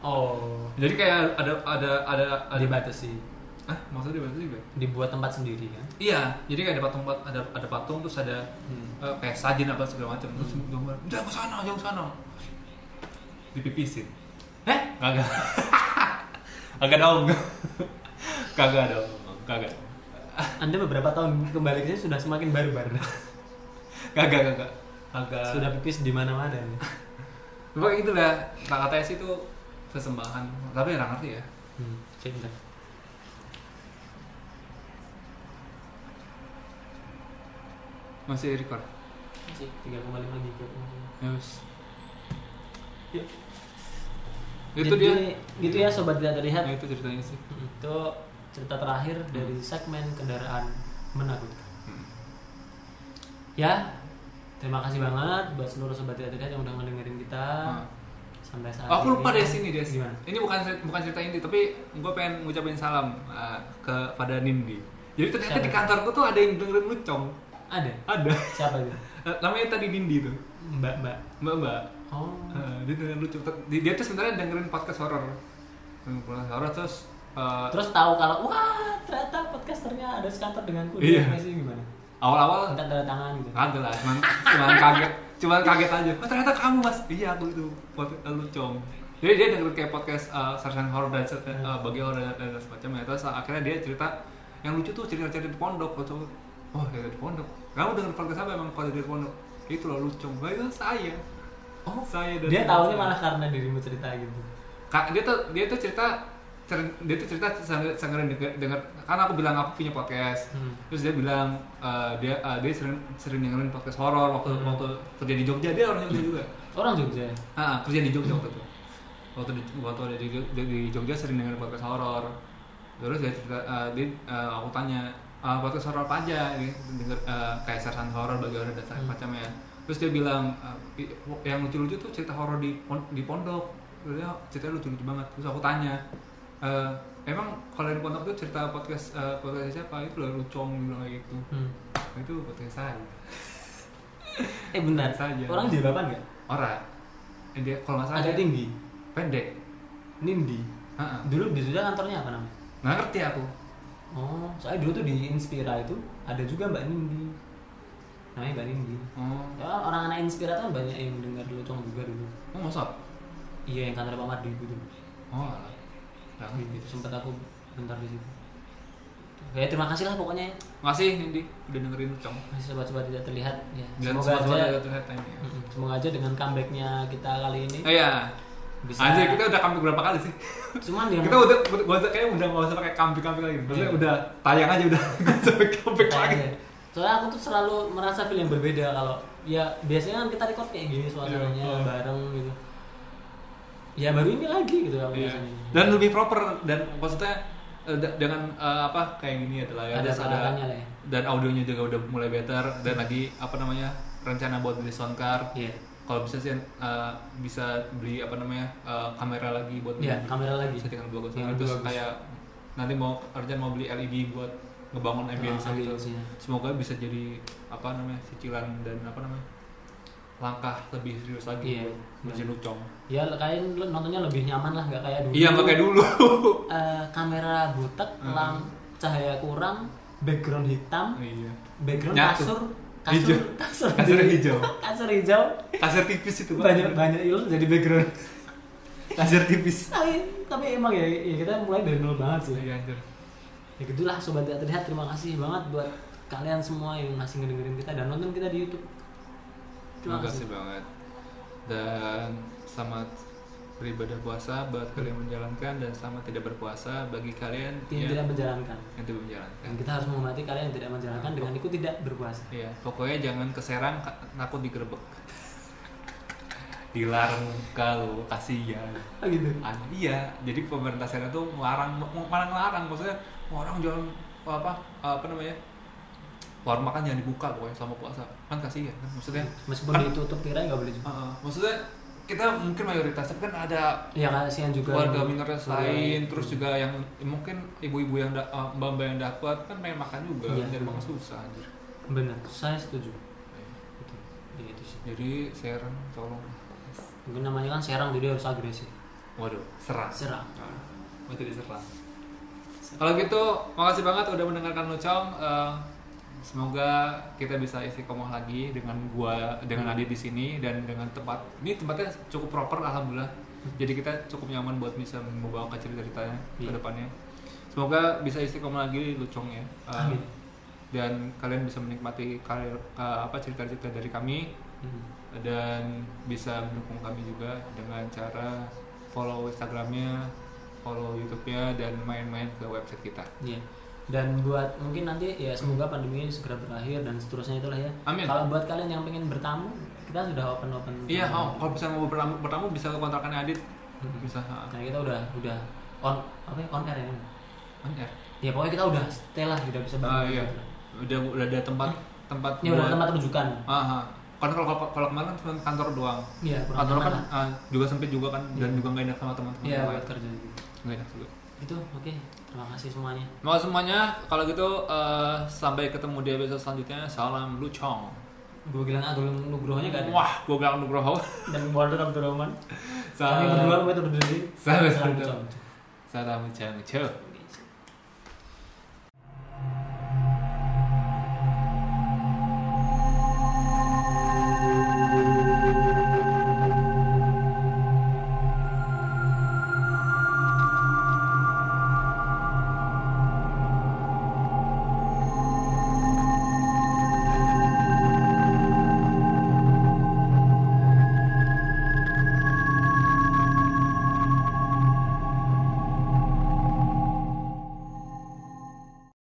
Oh, jadi kayak ada ada ada ada dibatasi. ah maksudnya dibatasi juga Dibuat tempat sendiri kan. Iya, jadi kayak ada patung ada ada patung terus ada Hmm. eh, kayak sajen apa segala macam terus gambar jangan ke sana jangan ke sana dipipisin Eh? kagak *laughs* kagak dong *laughs* kagak dong kagak Anda beberapa tahun kembali ke sini sudah semakin barbar. kagak kagak kagak sudah pipis di mana-mana. nih. pokoknya gitu lah kata sih itu sesembahan tapi nggak ngerti ya Hmm, cek bentar. masih record Cek 3,5 giga. ya wes. Yuk. itu Jadi, dia Gitu ya sobat tidak terlihat. Ya, itu ceritanya sih Itu cerita terakhir dari segmen kendaraan menakutkan. Hmm. Ya, terima kasih banget buat seluruh sobat tidak terlihat yang udah ngedengerin kita Hmm. sampai saat Oh, aku lupa ini. deh sini deh. Gimana? Ini bukan cerit- bukan cerita inti, tapi gue pengen ngucapin salam eh, ke pada Nindi. Jadi ternyata Siapa? di kantorku tuh ada yang dengerin lucong. Ada. Ada. Siapa itu? Eh, Namanya tadi Nindi tuh. Mbak Mbak. Mbak Ah. Mbak. Eh, Oh. dia dengerin lucong. Ter- Dia dia tuh sebenarnya dengerin podcast horor. Dengerin Podcast horor terus. eh, Terus tahu kalau wah ternyata podcasternya ada sekantor denganku. Iya. Dia Masih gimana? awal-awal Minta tanda tangan gitu. kagak lah, cuman, cuman kaget, cuman kaget aja. Oh, ternyata kamu mas, iya aku itu podcast eh, lucong. Jadi dia dengerin kayak podcast eh, sarjan horror dan se- eh, Hmm. bagi horror dan, dan semacamnya. Terus akhirnya dia cerita yang lucu tuh cerita-cerita di pondok. Gua coba, oh cerita di pondok. Kamu denger podcast apa emang kalau di pondok? Itu loh lucong. Wah itu saya. Oh saya. dan Dia teman tahunya saya. malah karena dirimu cerita gitu. Ka- dia tuh dia tuh cerita cer- dia tuh cerita sangat sangat denger, denger karena aku bilang aku punya podcast Hmm. terus dia bilang eh, dia eh, dia sering sering dengerin podcast horor waktu Hmm. waktu kerja di Jogja dia orang Jogja juga Orang Jogja. ya? Ah, ah, kerja di Jogja waktu itu waktu di waktu ada di, di, di Jogja sering dengerin podcast horor terus dia cerita eh, dia eh, aku tanya "Ah, podcast horor apa aja dia denger eh, kayak sersan horor bagi orang dan Hmm. macamnya terus dia bilang "Eh, yang lucu-lucu tuh cerita horor di pon- di pondok terus dia ceritanya lucu-lucu banget terus aku tanya "Eh, emang kalau di pondok tuh cerita podcast eh, podcast siapa itu loh lucong dia bilang kayak gitu Hmm. itu podcast saya Eh bentar. Saja. Orang jilbaban nggak? ora Eh, dia kalau nggak salah Agak dia tinggi. pendek Nindi. Ah, ah. Dulu di Jogja kantornya apa namanya? nggak ngerti aku Oh, soalnya dulu tuh di Inspira itu ada juga Mbak Nindi. Namanya Mbak Nindi. Oh, Ya, orang anak Inspira tuh kan banyak yang dengar lucong juga dulu. oh masa? Iya, yang kantor Pak Mardi itu dulu. Oh, alah. Nggak ngerti. Gitu, sempet aku bentar di situ. Ya, terima kasih lah pokoknya ya. Makasih Nindi udah dengerin Cong. Masih sobat-sobat tidak terlihat ya. Dan Semoga semua aja ada tuh headline ya. Mm-mm. Semoga aja dengan comebacknya kita kali ini Oh iya. bisa. Anjir, kita udah kambing berapa kali sih? Cuman ya, yang Kita udah gak usah kayak udah nggak usah pakai kambing-kambing lagi. Maksudnya Iya. udah tayang aja udah *laughs* nggak usah pakai kambing lagi. Iya. Soalnya aku tuh selalu merasa feel yang berbeda kalau ya biasanya kan kita record kayak gini Iya, suasananya iya. bareng gitu. Ya baru ini lagi gitu aku Iya. rasanya. Dan lebih proper dan maksudnya eh, de- dengan eh, apa kayak gini adalah ya Ada terus ada peralatannya lah ya. dan audionya juga udah mulai better dan lagi apa namanya rencana buat beli sound card Iya. kalau bisa sih eh, bisa beli apa namanya eh, kamera lagi buat Iya, kamera lagi. settingan bagus Yang terus bagus. kayak nanti mau kerjaan mau beli LED buat ngebangun ambience gitu Ah, ambience-nya. semoga bisa jadi apa namanya cicilan dan apa namanya langkah lebih serius lagi Iya, buat mesin lucong Ya kalian lu nontonnya lebih nyaman lah nggak kayak dulu. iya nggak kayak dulu Eh, kamera butek, lamp cahaya kurang, background hitam *laughs* iya background Nyatu. kasur Hijau. kasur kasur *laughs* Kasur hijau. *laughs* kasur hijau kasir tipis itu Bang. banyak banyak ilmu jadi background kasir tipis tapi, tapi emang ya, ya kita mulai dari nol banget sih iya anjir ya gitulah sobat tidak terlihat terima kasih banget buat kalian semua yang masih ngedengerin kita dan nonton kita di YouTube Terima kasih banget. Dan selamat beribadah puasa buat kalian yang menjalankan dan selamat tidak berpuasa bagi kalian yang yang, tidak menjalankan yang tidak dan menjalankan. kita harus menghormati kalian yang tidak menjalankan dengan ikut tidak berpuasa Iya, pokoknya jangan keserang ka- takut digerebek. *laughs* Dilarang kalau kasihan. oh, gitu Ah, iya, jadi pemerintah sana tuh melarang mau- melarang larang maksudnya orang jangan apa apa namanya? Warung makan jangan dibuka pokoknya selama puasa. Kan kasihan kan maksudnya. meskipun ditutup tirai nggak boleh juga Heeh. maksudnya kita mungkin mayoritas tapi kan ada ya kasihan juga gitu. warga minoritas Warga- lain terus juga yang ya mungkin ibu-ibu yang da- eh, mbak-mbak yang dapat kan pengen makan juga Iya. jadi makan susah anjir benar saya setuju itu ya itu sih jadi serang tolong mungkin namanya kan serang jadi harus agresif waduh serang serang Nah, berarti diserang kalau gitu makasih banget udah mendengarkan Nocong Eh, semoga kita bisa isi komoh lagi dengan gua dengan Adi di sini dan dengan tempat ini tempatnya cukup proper alhamdulillah jadi kita cukup nyaman buat bisa membawa ke cerita-ceritanya ke Iya. depannya semoga bisa istiqomah lagi Lucong ya Eh, Amin. dan kalian bisa menikmati karir eh, apa cerita-cerita dari kami Hmm. dan bisa mendukung kami juga dengan cara follow Instagramnya, follow YouTube-nya, dan main-main ke website kita. Iya. Dan buat mungkin nanti ya semoga pandemi ini segera berakhir dan seterusnya itulah ya. Amin. Kalau buat kalian yang pengen bertamu, kita sudah open open. Iya, oh, kalau bisa mau bertamu, bertamu bisa ke kontrakannya Adit, Mhm. bisa ha, Karena kita udah udah on apa ya on air ya. on air. Ya pokoknya kita udah stay lah, tidak bisa Ah, bangun. iya, udah udah ada tempat tempat Ini udah tempat rujukan. Ah, ah. Kan kalau kalau- kalau kemarin kan cuma kantor doang. Iya, kurang Kantor nyaman kan lah. ah, juga sempit juga kan dan juga nggak enak sama teman-teman. Iya, yang lain. buat kerja gitu. Nggak enak juga. Itu oke. Terima kasih semuanya. Mau semuanya, kalau gitu eh, sampai ketemu di episode selanjutnya. Salam lucong. Gue bilang Agul Nugrohonya gak ada. Wah, gue bilang Nugroho. Dan Wonder Abdurrahman. Salam. Kami berdua, gue terus berdiri. Salam. Salam. Salam ucap ucap.